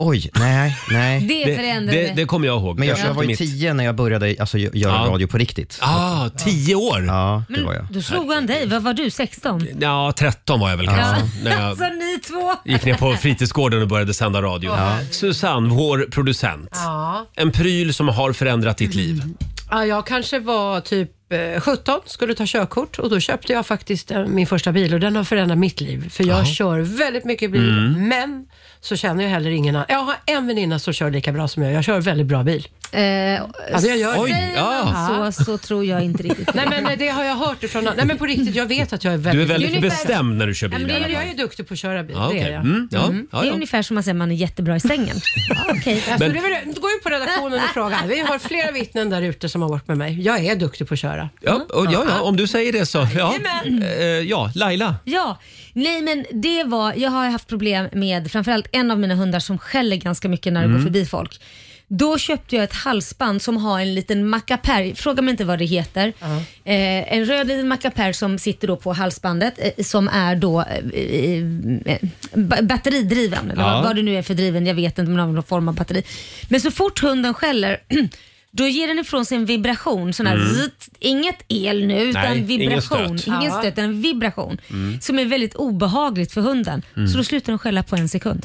Speaker 6: Oj, nej, nej.
Speaker 2: Det Det- förändrade.
Speaker 1: det- det kommer jag ihåg.
Speaker 6: Men jag,
Speaker 1: Jag
Speaker 6: jag var ju
Speaker 1: köpte mitt.
Speaker 6: tio när jag började alltså, gö- göra
Speaker 1: Ja.
Speaker 6: radio på riktigt.
Speaker 1: Ah, tio år?
Speaker 6: Ja, det var jag.
Speaker 2: Då slog han dig. Vad var du? 16?
Speaker 1: Ja, 13 var jag väl kanske. När jag-
Speaker 2: alltså ni två.
Speaker 1: gick ner på fritidsgården och började sända radio.
Speaker 5: Ja.
Speaker 1: Susanne, vår producent.
Speaker 5: Ja.
Speaker 2: Mm.
Speaker 1: En pryl som har förändrat ditt liv.
Speaker 5: ja, jag kanske var typ eh, 17, skulle ta körkort och då köpte jag faktiskt eh, min första bil och den har förändrat mitt liv. För jag
Speaker 13: Jaha.
Speaker 5: kör väldigt mycket bil,
Speaker 13: Mm.
Speaker 5: men så känner jag heller ingen annan. Jag har en väninna som kör lika bra som jag. Jag kör väldigt bra bil. Ja, det gör Eh, Alltså, jag.
Speaker 2: Oj, Säger man ja. så, tror jag inte riktigt
Speaker 5: Nej men eh, det har jag hört ifrån Nej men på riktigt, jag vet att jag är väldigt...
Speaker 1: Du är väldigt bestämd när du kör
Speaker 5: Nej,
Speaker 1: bil.
Speaker 5: men det
Speaker 1: i alla
Speaker 5: är,
Speaker 1: fall.
Speaker 5: jag är ju duktig på att köra bil,
Speaker 1: Ja,
Speaker 5: det
Speaker 1: okej.
Speaker 5: är jag.
Speaker 1: Mm, ja, ja,
Speaker 2: Det är
Speaker 1: ja.
Speaker 2: ungefär som att säga att man är jättebra i sängen. Ja, Okej.
Speaker 5: Jag skulle vilja gå in på redaktionen och fråga. Vi har flera vittnen där ute som har varit med mig. Jag är duktig på att köra.
Speaker 1: Ja, och, ja, ja, om du säger det så. Ja, Eh, ja Laila.
Speaker 2: Ja, nej men det var, jag har haft problem med framförallt en av mina hundar som skäller ganska mycket när det
Speaker 13: Mm.
Speaker 2: går förbi folk. Då köpte jag ett halsband som har en liten mackapär, fråga mig inte vad det heter. Eh, en röd liten mackapär som sitter då på halsbandet eh, som är då eh, eh, eh, ba- batteridriven, eller
Speaker 13: Ja.
Speaker 2: vad, vad det nu är för driven, jag vet inte, men av någon form av batteri. Men så fort hunden skäller Då ger den ifrån sig en vibration, sån här
Speaker 13: Mm.
Speaker 2: zzzt, inget el nu utan
Speaker 13: Nej, ingen
Speaker 2: vibration.
Speaker 13: stöt.
Speaker 2: Ingen
Speaker 13: Ja.
Speaker 2: stöt utan en vibration
Speaker 13: Mm.
Speaker 2: som är väldigt obehagligt för hunden.
Speaker 13: Mm.
Speaker 2: Så då slutar den skälla på en sekund.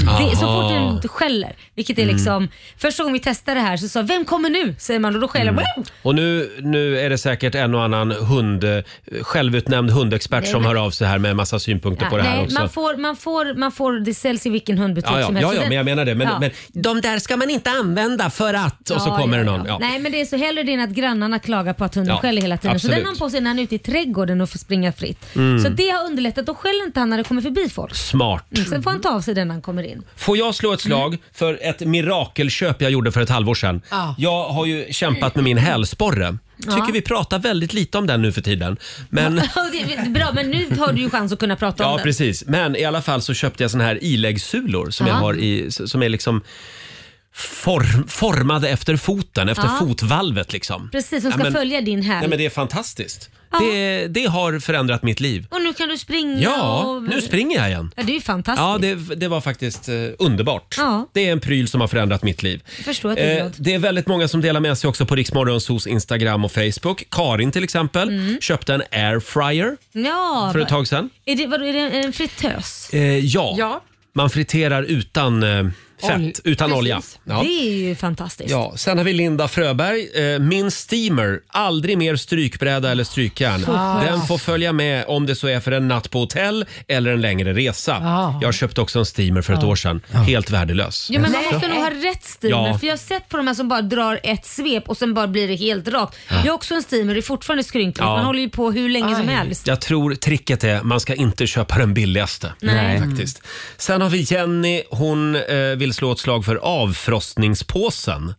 Speaker 2: Det är så
Speaker 13: Aha.
Speaker 2: fort den skäller, vilket är
Speaker 1: Mhm. Mm.
Speaker 2: liksom... Första gången vi testade det här så sa vem kommer nu? Säger man och då skäller den.
Speaker 1: Och nu, nu är det säkert en och annan hund, eh, självutnämnd hundexpert
Speaker 2: Nej,
Speaker 1: som
Speaker 2: men-
Speaker 1: hör av sig här med en massa synpunkter på det här
Speaker 2: Nej,
Speaker 1: också.
Speaker 2: man får, man, får, man får, det säljs i vilken hundbutik
Speaker 1: Ja, ja,
Speaker 2: som helst.
Speaker 1: ja, ja,
Speaker 2: Så den-
Speaker 1: men jag menar det. Men,
Speaker 2: Ja.
Speaker 1: men de där ska man inte använda för att... Och så
Speaker 2: Ja,
Speaker 1: kommer
Speaker 2: ja,
Speaker 1: det någon. Ja.
Speaker 2: Nej men det är så hellre det än att grannarna klagar på att hunden
Speaker 1: Ja,
Speaker 2: skäller hela tiden. Så den
Speaker 1: absolut.
Speaker 2: har han på sig när han är ute i trädgården och får springa fritt.
Speaker 1: Mm.
Speaker 2: Så det har underlättat. Då skäller inte han när det kommer förbi folk.
Speaker 1: Smart.
Speaker 2: Mm, sen får han ta av sig den när han kommer in.
Speaker 1: Får jag slå ett slag för ett mirakelköp jag gjorde för ett halvår sedan?
Speaker 2: Ja.
Speaker 1: Jag har ju kämpat med min hälsporre. Tycker
Speaker 2: Ja.
Speaker 1: vi pratar väldigt lite om den nu för tiden. Men...
Speaker 2: det är bra, men nu har du ju chans att kunna prata om
Speaker 1: Ja,
Speaker 2: den.
Speaker 1: precis. Men i alla fall så köpte jag såna här iläggssulor som
Speaker 2: Ja.
Speaker 1: jag har i, som är liksom form, formade efter foten, efter
Speaker 2: Ja.
Speaker 1: fotvalvet liksom.
Speaker 2: Precis, som ska
Speaker 1: Ja, men-
Speaker 2: följa din här.
Speaker 1: Nej men det är fantastiskt.
Speaker 2: Ja.
Speaker 1: Det, det har förändrat mitt liv.
Speaker 2: Och nu kan du springa
Speaker 1: Ja,
Speaker 2: och...
Speaker 1: nu springer jag igen.
Speaker 2: Ja, det är ju fantastiskt.
Speaker 1: Ja, det, det var faktiskt eh, underbart.
Speaker 2: Ja.
Speaker 1: Det är en pryl som har förändrat mitt liv. Eh,
Speaker 2: Jag förstår att du är glad.
Speaker 1: det är väldigt många som delar med sig också på Riksmorgonsos Instagram och Facebook. Karin till exempel köpte en airfryer
Speaker 2: Mm. Ja,
Speaker 1: för ett tag sedan.
Speaker 2: Är det, vadå, är det en- en fritös?
Speaker 1: Eh, ja. man friterar utan eh, fett,
Speaker 2: Ol-
Speaker 1: utan
Speaker 2: Precis.
Speaker 1: olja. Ja.
Speaker 2: Det är ju fantastiskt.
Speaker 1: Ja, sen har vi Linda Fröberg. Eh, Min steamer, aldrig mer strykbräda eller strykjärn.
Speaker 13: Så skönt.
Speaker 1: Den får följa med om det så är för en natt på hotell eller en längre resa.
Speaker 2: Ja.
Speaker 1: Jag köpte också en steamer för ett
Speaker 2: Ja.
Speaker 1: år sedan. Helt värdelös.
Speaker 2: Ja, men man måste nog ha rätt steamer.
Speaker 1: Ja.
Speaker 2: För jag har sett på de här som bara drar ett svep och sen bara blir det helt rakt.
Speaker 1: Ja.
Speaker 2: Jag har också en steamer, det är fortfarande skrynkligt.
Speaker 1: Ja.
Speaker 2: Man håller ju på hur länge som helst.
Speaker 1: Jag tror tricket är man ska inte köpa den billigaste.
Speaker 2: Nej.
Speaker 1: Faktiskt. Sen har vi Jenny. Hon eh, vill slå ett slag för avfrostningspåsen.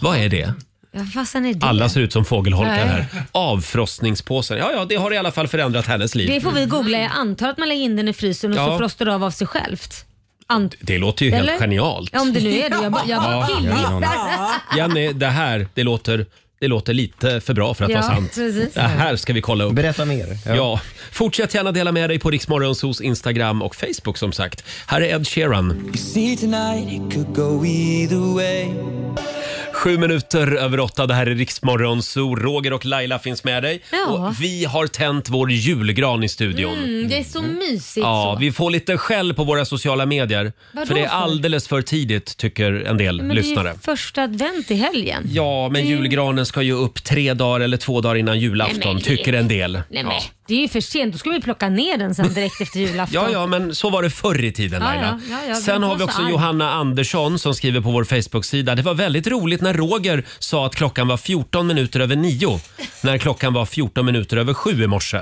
Speaker 1: Vad är det?
Speaker 2: Ja, Vad fan är det?
Speaker 1: Alla ser ut som fågelholkar
Speaker 2: Nej.
Speaker 1: här. Avfrostningspåsen. Ja, ja, det har i alla fall förändrat hennes liv.
Speaker 2: Det får vi googla. Jag antar att man lägger in den i frysen och
Speaker 1: Ja.
Speaker 2: så frostar det av av sig självt. Ant-
Speaker 1: Det låter ju helt
Speaker 2: Eller?
Speaker 1: genialt.
Speaker 2: Ja, om det nu är det. Jag bara, jag bara
Speaker 1: Ja,
Speaker 2: killgissar.
Speaker 1: Jenny, det här, det låter, det låter lite för bra för att
Speaker 2: Ja,
Speaker 1: vara sant.
Speaker 2: precis.
Speaker 1: Det här ska vi kolla upp.
Speaker 6: Berätta mer.
Speaker 1: Ja. Fortsätt gärna dela med dig på Riksmorgonsos Instagram och Facebook som sagt. Här är Ed Sheeran. Sju minuter över åtta, det här är Riksmorgonso. Roger och Laila finns med dig.
Speaker 2: Ja.
Speaker 1: Och vi har tänt vår julgran i studion.
Speaker 2: Mm, det är så mysigt
Speaker 1: Ja,
Speaker 2: så.
Speaker 1: vi får lite skäll på våra sociala medier.
Speaker 2: Vadå
Speaker 1: för det är
Speaker 2: för?
Speaker 1: alldeles för tidigt tycker en del
Speaker 2: Men det är
Speaker 1: lyssnare.
Speaker 2: ju första advent i helgen.
Speaker 1: Ja, men julgranen ska ju upp tre dagar eller två dagar innan julafton,
Speaker 2: Nej, men det-
Speaker 1: tycker en del.
Speaker 2: Nej,
Speaker 1: ja.
Speaker 2: men, det är ju för sent. Då ska vi plocka ner den sen direkt efter julafton.
Speaker 1: Ja, ja, men så var det förr i tiden
Speaker 2: Ja,
Speaker 1: Laila.
Speaker 2: ja, ja, ja,
Speaker 1: Sen
Speaker 2: vi
Speaker 1: har vi
Speaker 2: var så
Speaker 1: också
Speaker 2: arg.
Speaker 1: Johanna Andersson som skriver på vår Facebook-sida. Det var väldigt roligt när Roger sa att klockan var 14 minuter över nio. När klockan var 14 minuter över sju i morse.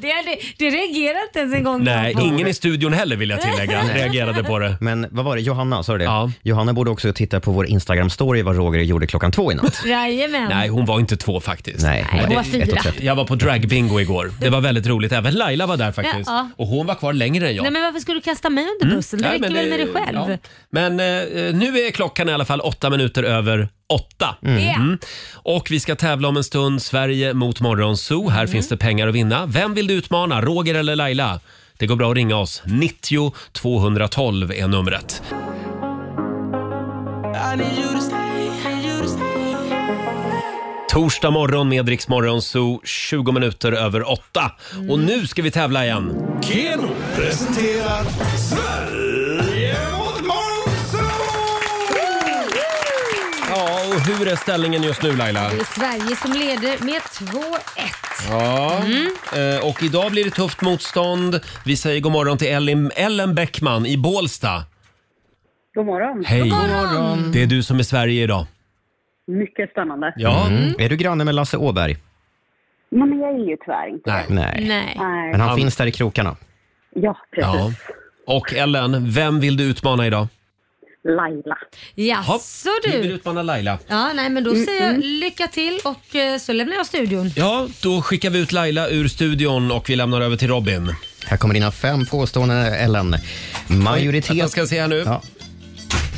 Speaker 2: Det, är det, det reagerar inte ens en gång.
Speaker 1: Nej, ingen i studion heller vill jag tillägga.
Speaker 6: Nej.
Speaker 1: Reagerade på det.
Speaker 6: Men vad var det, Johanna sa du det? Johanna borde också titta på vår Instagram-story vad Roger gjorde klockan två i natt.
Speaker 2: Jajamän.
Speaker 1: Nej, hon var inte två faktiskt.
Speaker 6: Nej, hon
Speaker 2: Nej, var hon var ett och fyra. trettio.
Speaker 1: Jag var på dragbingo igår. Det var väldigt roligt. Även Laila var där faktiskt.
Speaker 2: Ja.
Speaker 1: Och hon var kvar längre än jag.
Speaker 2: Nej, men varför skulle du kasta mig under bussen? Det
Speaker 1: Mm. Nej,
Speaker 2: räcker
Speaker 1: men
Speaker 2: väl
Speaker 1: det-
Speaker 2: med dig själv?
Speaker 1: ja. Men eh, nu är klockan i alla fall åtta minuter över åtta.
Speaker 2: Mm. Ja.
Speaker 1: Och vi ska tävla om en stund. Sverige mot Morgonzoo.
Speaker 2: Mm.
Speaker 1: Här finns det pengar att vinna. Vem vill du utmana? Roger eller Laila? Det går bra att ringa oss. 90 212 är numret. Torsdag morgon med Rix Morgonzoo, 20 minuter över åtta. Och nu ska vi tävla igen.
Speaker 13: Keno presenterar Sverige mot Monzo!
Speaker 1: Ja, och hur är ställningen just nu Laila?
Speaker 2: Det är Sverige som leder med 2-1.
Speaker 1: Ja, eh, och idag blir det tufft motstånd. Vi säger god morgon till Ellen, Ellen Bäckman i Bålsta.
Speaker 14: God morgon.
Speaker 1: Hej! Det är du som är Sverige idag.
Speaker 14: Mycket spännande.
Speaker 1: Mm.
Speaker 6: Mm. Är du granne med Lasse Åberg?
Speaker 14: Nej, men jag är ju tyvärr inte
Speaker 6: Nej. Nej.
Speaker 14: Nej.
Speaker 6: Men han finns där i krokarna.
Speaker 14: Ja, precis.
Speaker 1: Ja. Och Ellen, vem vill du utmana idag?
Speaker 14: Laila.
Speaker 2: Jaså
Speaker 1: Du vill
Speaker 2: du?
Speaker 1: utmana Laila.
Speaker 2: Ja, nej men då säger jag lycka till och eh, så lämnar jag studion.
Speaker 1: Ja, då skickar vi ut Laila ur studion och vi lämnar över till Robin.
Speaker 6: Här kommer dina fem påståenden, Ellen. Majoritet... Jag
Speaker 1: ska se här nu.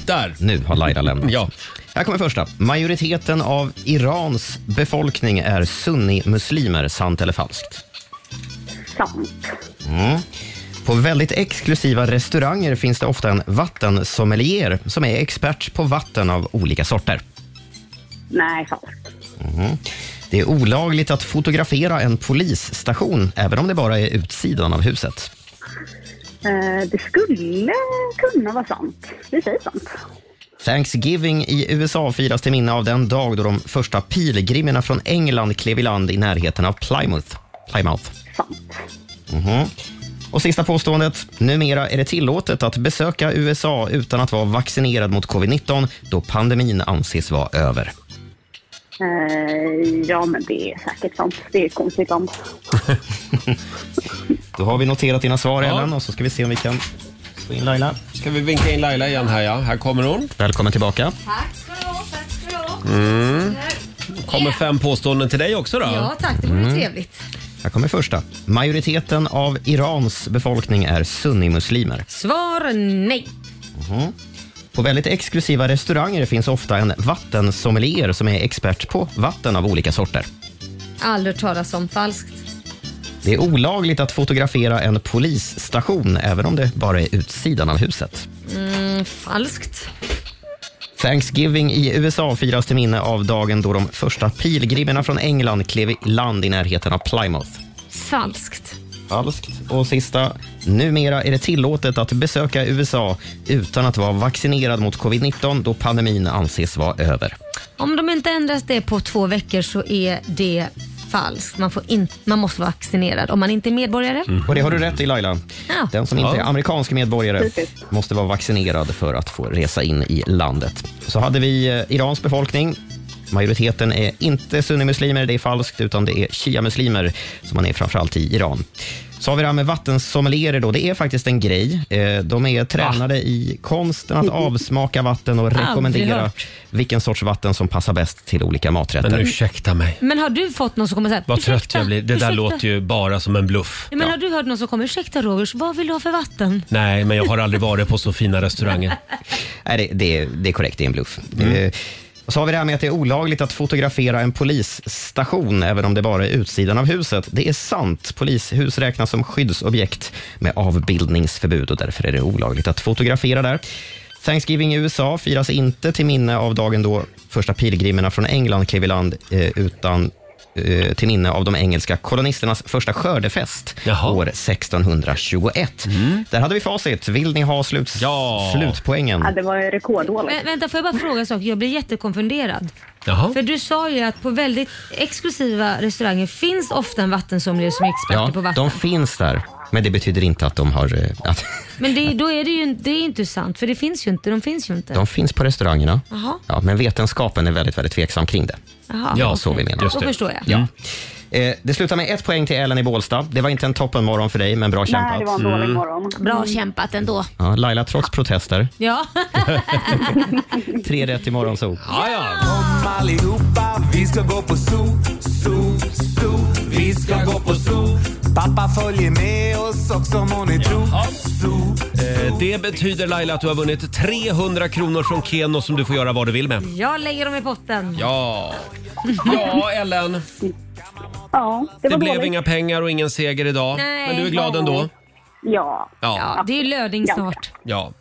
Speaker 1: Där.
Speaker 6: Nu har Laila lämnat.
Speaker 1: ja.
Speaker 6: Här kommer första. Majoriteten av Irans befolkning är sunnimuslimer, sant eller falskt?
Speaker 14: Sant.
Speaker 6: Mm. På väldigt exklusiva restauranger finns det ofta en vattensommelier som är expert på vatten av olika sorter.
Speaker 14: Nej, falskt.
Speaker 6: Mhm. Det är olagligt att fotografera en polisstation, även om det bara är utsidan av huset.
Speaker 14: Eh, det skulle kunna vara sant. Vi säger sant.
Speaker 6: Thanksgiving i USA firas till minne av den dag då de första pilgrimerna från England klev i land i närheten av Plymouth. Plymouth. Mhm. Och sista påståendet. Numera är det tillåtet att besöka USA utan att vara vaccinerad mot covid-19 då pandemin anses vara över.
Speaker 14: Eh, ja, men det är säkert sant. Det är ett konstigt land.
Speaker 6: Då har vi noterat dina svar, Ellen, och så ska vi se om vi kan få in Laila.
Speaker 1: Ska vi vinka in Laila igen här ja. Här kommer hon.
Speaker 6: Välkommen tillbaka.
Speaker 2: Tack ska du ha, tack ska du ha.
Speaker 1: Mm. Kommer fem påståenden till dig också då?
Speaker 2: Ja tack, det vore
Speaker 6: Mm.
Speaker 2: trevligt.
Speaker 6: Här kommer första. Majoriteten av Irans befolkning är sunnimuslimer.
Speaker 2: Svar nej.
Speaker 6: Mhm. På väldigt exklusiva restauranger finns ofta en vattensommelier som är expert på vatten av olika sorter.
Speaker 2: Aldrig hört talas om falskt.
Speaker 6: Det är olagligt att fotografera en polisstation även om det bara är utsidan av huset.
Speaker 2: Mm, falskt.
Speaker 6: Thanksgiving i USA firas till minne av dagen då de första pilgrimerna från England klev i land i närheten av Plymouth.
Speaker 2: Falskt.
Speaker 6: Falskt. Och sista. Numera är det tillåtet att besöka USA utan att vara vaccinerad mot covid-19 då pandemin anses vara över.
Speaker 2: Om de inte ändras det på två veckor så är det falskt. Man, får in, man måste vara vaccinerad om man inte är medborgare.
Speaker 1: Mm.
Speaker 6: Och det har du rätt i Laila.
Speaker 2: Ja.
Speaker 6: Den som inte
Speaker 2: Ja.
Speaker 6: är amerikansk medborgare
Speaker 2: Typiskt.
Speaker 6: måste vara vaccinerad för att få resa in i landet. Så hade vi eh, Irans befolkning. Majoriteten är inte sunnimuslimer, det är falskt, utan det är shia-muslimer som man är framförallt i Iran. Så har vi det här med vattensommelierer då. Det är faktiskt en grej. Eh, De är tränade i konsten att avsmaka vatten och
Speaker 2: Aldrig
Speaker 6: rekommendera
Speaker 2: hört.
Speaker 6: vilken sorts vatten som passar bäst till olika maträtter.
Speaker 1: Men ursäkta mig.
Speaker 2: Men har du fått någon som kommer säga
Speaker 1: Vad trött jag blir. Det där
Speaker 2: ursäkta.
Speaker 1: låter ju bara som en bluff.
Speaker 2: Ja, Men har du hört någon som kommer ursäkta Rogers, vad vill du ha för vatten?
Speaker 1: Nej, men jag har aldrig varit på så fina restauranger.
Speaker 6: Nej, det, det, det är korrekt. Det är en bluff. Eh, Och så har vi det här med att det är olagligt att fotografera en polisstation, även om det bara är utsidan av huset. Det är sant. Polishus räknas som skyddsobjekt med avbildningsförbud och därför är det olagligt att fotografera där. Thanksgiving i USA firas inte till minne av dagen då första pilgrimerna från England klev i land, eh, utan eh, till minne av de engelska kolonisternas första skördefest år 1621. Där hade vi facit. Vill ni ha sluts- slutpoängen?
Speaker 14: Ja, det var ju rekorddåligt.
Speaker 2: Vä- vänta, får jag bara fråga en sak? Jag blir jättekonfunderad.
Speaker 6: Jaha.
Speaker 2: För du sa ju att på väldigt exklusiva restauranger finns ofta en vattensommelier som är experter på vatten.
Speaker 6: de finns där, men det betyder inte att de har... eh, Att
Speaker 2: Men det, då är det ju det är inte sant, för det finns ju inte. De finns ju inte.
Speaker 6: de finns på restaurangerna,
Speaker 2: Jaha.
Speaker 6: ja, men vetenskapen är väldigt, väldigt tveksam kring det.
Speaker 2: Jaha,
Speaker 6: ja,
Speaker 2: okej.
Speaker 6: så vi menar.
Speaker 2: Just Då det. förstår jag.
Speaker 6: Ja. Eh, Det slutar med ett poäng till Ellen i Bålsta. Det var inte en toppenmorgon för dig, men bra kämpat.
Speaker 2: Nej, det var en dålig
Speaker 6: Mm.
Speaker 2: morgon. Bra kämpat ändå.
Speaker 6: Ja, Laila, trots protester.
Speaker 2: Ja.
Speaker 6: Tre rätt i morgonzoo.
Speaker 13: Kom allihopa, vi ska gå på zoo, zoo, zoo. Vi ska gå på zoo. Pappa följer med oss också må ni tro. Zoo.
Speaker 1: Eh, Det betyder Laila att du har vunnit 300 kronor från Keno som du får göra vad du vill med.
Speaker 2: Jag lägger dem i potten.
Speaker 1: Ja, Ja, Ellen.
Speaker 14: Ja,
Speaker 1: det,
Speaker 14: det var
Speaker 1: blev
Speaker 14: dåligt.
Speaker 1: inga pengar och ingen seger idag.
Speaker 2: Nej.
Speaker 1: Men du är glad ändå?
Speaker 14: Ja.
Speaker 1: Ja.
Speaker 2: Det är ju löding snart.
Speaker 1: ja.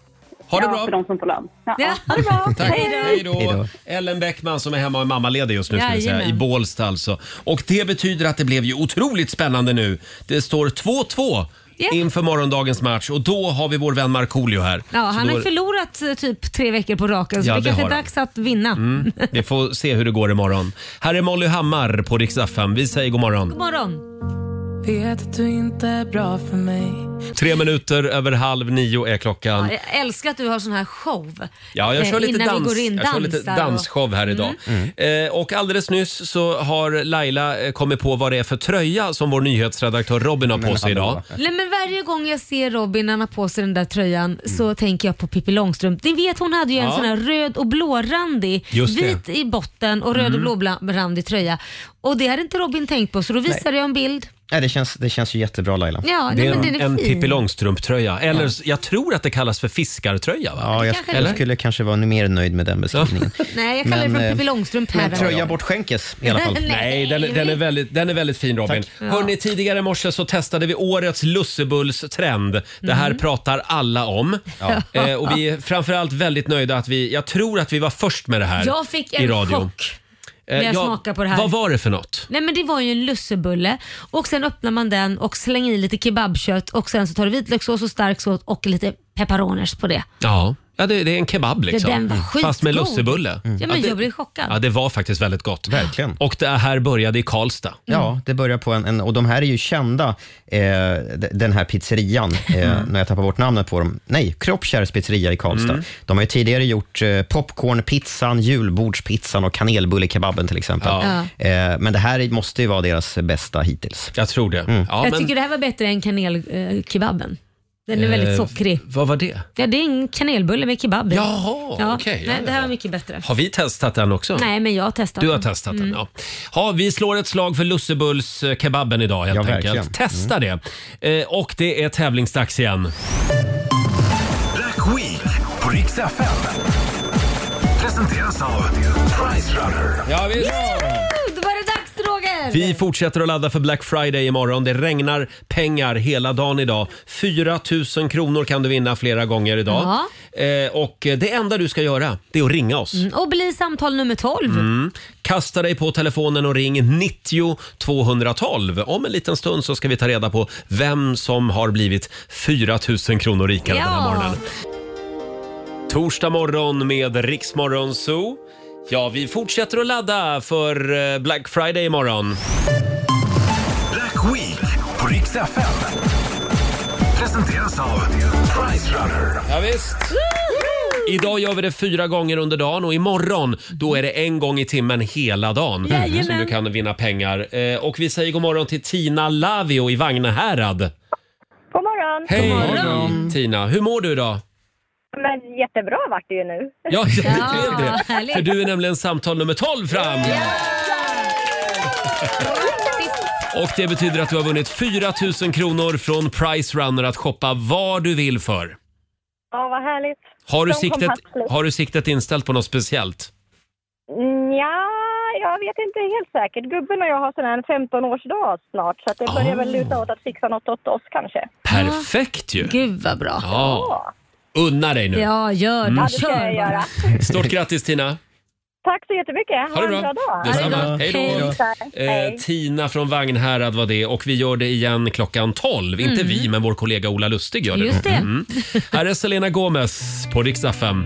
Speaker 1: Ha det
Speaker 14: ja,
Speaker 1: bra.
Speaker 14: för de som får lön. Ja,
Speaker 2: ha det bra.
Speaker 1: Tack. Hej då. Ellen Bäckman som är hemma och är mammaledig just nu ska vi säga, i
Speaker 2: Jajamän.
Speaker 1: Bålsta alltså. Och det betyder att det blev ju otroligt spännande nu. Det står 2-2 inför morgondagens match och då har vi vår vän Markoolio här.
Speaker 2: Ja,
Speaker 1: Så
Speaker 2: han
Speaker 1: då-
Speaker 2: har ju förlorat eh, typ tre veckor på raken så
Speaker 1: Ja,
Speaker 2: det
Speaker 1: det
Speaker 2: kanske
Speaker 1: har
Speaker 2: är
Speaker 1: han.
Speaker 2: dags att vinna.
Speaker 1: Mm, vi får se hur det går imorgon. Här är Molly Hammar på Rix FM. Vi säger god morgon.
Speaker 2: God morgon.
Speaker 15: Vet att du inte är bra för mig
Speaker 1: Tre minuter över halv nio är klockan.
Speaker 2: Ja, jag älskar att du har sån här show.
Speaker 1: Ja, jag
Speaker 2: eh,
Speaker 1: kör lite,
Speaker 2: innan vi
Speaker 1: dans,
Speaker 2: går in,
Speaker 1: jag kör lite
Speaker 2: dansar Mm.
Speaker 1: dansshow här idag. Eh, och alldeles nyss så har Laila eh, kommit på vad det är för tröja som vår nyhetsredaktör Robin har på sig idag.
Speaker 2: Och... Nej, men varje gång jag ser Robin när han har på sig den där tröjan så tänker jag på Pippi Långstrump. Ni vet hon hade ju en
Speaker 1: Mm. Ja.
Speaker 2: sån här röd och blårandig,
Speaker 1: Just det.
Speaker 2: vit i botten och röd
Speaker 6: Mm.
Speaker 2: och blårandig tröja. Och det hade inte Robin tänkt på så då visade jag en bild.
Speaker 6: Nej, det, känns, det känns ju jättebra Laila.
Speaker 2: Ja,
Speaker 1: Det
Speaker 2: nej,
Speaker 1: är
Speaker 2: men
Speaker 1: en,
Speaker 2: den är
Speaker 1: en
Speaker 2: fin.
Speaker 1: Pippi Långstrump-tröja. Eller s- jag tror att det kallas för fiskartröja va?
Speaker 6: Ja, jag,
Speaker 2: kanske
Speaker 6: jag
Speaker 2: det.
Speaker 6: skulle kanske vara mer nöjd med den beskrivningen.
Speaker 2: Nej, jag kallar
Speaker 6: Men,
Speaker 2: det för
Speaker 6: eh,
Speaker 2: en Pippi Långstrump här.
Speaker 6: Men tröja bort skänkes i alla fall.
Speaker 1: Nej, den, den, är väldigt, den är väldigt fin Robin.
Speaker 6: Tack.
Speaker 2: Ja.
Speaker 1: Hörrni, tidigare i morse så testade vi årets lussebullstrend. Det här
Speaker 2: Mhm.
Speaker 1: pratar alla om.
Speaker 2: Ja.
Speaker 1: Eh, och vi är framförallt väldigt nöjda att vi, jag tror att vi var först med det här
Speaker 2: Jag fick
Speaker 1: i
Speaker 2: en
Speaker 1: radio. Eh,
Speaker 2: chock när jag smakade på det här.
Speaker 1: Vad var det för något?
Speaker 2: Nej men det var ju en lussebulle och sen öppnar man den och slänger i lite kebabkött och sen så tar du vitlökssås och stark sås och lite pepperoners på det.
Speaker 1: Ja, ja det, det är en kebab
Speaker 2: Ja,
Speaker 1: liksom.
Speaker 2: den var
Speaker 1: Fast med
Speaker 2: skitgod. Mm.
Speaker 1: lussebulle.
Speaker 2: Ja men
Speaker 1: det,
Speaker 2: jag blev chockad.
Speaker 1: Mm. ja, det var faktiskt väldigt gott.
Speaker 6: Verkligen.
Speaker 1: Och det här började i Karlstad.
Speaker 6: Ja, det börjar på en, en och de här är ju kända, eh, d- den här pizzerian, eh,
Speaker 1: Mm.
Speaker 6: när jag tappar bort namnet på dem. Nej, Kroppkärrs pizzeria i Karlstad.
Speaker 1: Mm.
Speaker 6: De har ju tidigare gjort eh, popcornpizzan, julbordspizzan och kanelbullekebabben till exempel.
Speaker 2: Ja.
Speaker 6: Eh, men det här måste ju vara deras bästa hittills.
Speaker 1: Jag tror det.
Speaker 2: Mm. jag tycker det här var bättre än kanelkebaben. Den är väldigt sockrig.
Speaker 1: Vad var det?
Speaker 2: Ja, det är en kanelbulle med kebab i.
Speaker 1: Jaha, okej, Eh, ja,
Speaker 2: nej, Det här var mycket bättre.
Speaker 1: Har vi testat den också?
Speaker 2: Nej, men jag har testat
Speaker 1: Du har
Speaker 2: den.
Speaker 1: testat den,
Speaker 2: Mm.
Speaker 1: ja. ja. Vi slår ett slag för lussebullskebaben idag helt
Speaker 6: Ja,
Speaker 1: enkelt.
Speaker 6: verkligen. Mm.
Speaker 1: Testa det. Eh, Och det är tävlingsdags igen.
Speaker 13: Black Week på Rix FM. Presenteras av Price Runner.
Speaker 1: Ja, visst.
Speaker 2: Oh, Då var det dags Roger!
Speaker 1: Vi fortsätter att ladda för Black Friday imorgon. Det regnar pengar hela dagen idag. 4 000 kronor kan du vinna flera gånger idag. Eh, Och det enda du ska göra, det är att ringa oss.
Speaker 2: Mm, Och bli samtal nummer 12.
Speaker 1: Mm. Kasta dig på telefonen och ring 90 212. Om en liten stund så ska vi ta reda på vem som har blivit 4 000 kronor rikare den här
Speaker 2: Ja.
Speaker 1: morgonen. Torsdag morgon med Riksmorgon Zoo. Ja, vi fortsätter att ladda för eh, Black Friday imorgon.
Speaker 13: Black Week på Rix FM. Presenteras av Price Runner.
Speaker 1: Ja, visst. Idag gör vi det fyra gånger under dagen och imorgon då är det en gång i timmen hela dagen
Speaker 2: Jajamän.
Speaker 1: som du kan vinna pengar. Eh, och vi säger god morgon till Tina Lavio i Vagnehärad.
Speaker 4: God morgon.
Speaker 1: Hej Tina, hur mår du idag?
Speaker 4: Men jättebra vart det ju nu.
Speaker 1: Ja, det blev det.
Speaker 4: härligt.
Speaker 1: För du är nämligen samtal nummer 12 fram. Och det betyder att du har vunnit 4 000 kronor från Price Runner att shoppa vad du vill för.
Speaker 4: Ja, vad härligt.
Speaker 1: Har du,
Speaker 4: De kom
Speaker 1: siktet,
Speaker 4: passligt.
Speaker 1: har du siktet inställt på något speciellt?
Speaker 4: Ja, jag vet inte helt säkert. Gubben och jag har sån här en 15-årsdag snart så att det börjar väl luta åt att fixa något åt oss kanske.
Speaker 1: Perfekt ju!
Speaker 2: Gud vad bra.
Speaker 1: Ja. Unna dig nu.
Speaker 2: Ja, gör det.
Speaker 1: Mm. Ja, det
Speaker 4: ska jag
Speaker 2: Kör
Speaker 4: göra.
Speaker 2: bara.
Speaker 1: Stort grattis Tina!
Speaker 4: Tack så jättemycket.
Speaker 1: Ha det
Speaker 4: en bra
Speaker 1: bra!
Speaker 4: dag.
Speaker 1: Detsamma. Hej då! Eh,
Speaker 4: Hej.
Speaker 1: Tina från Vagnhärad var det och vi gör det igen klockan 12. Inte
Speaker 2: Mm.
Speaker 1: vi, men vår kollega Ola Lustig gör det. Mm.
Speaker 2: Just det.
Speaker 1: Här är Selena Gomez på riksdag 5.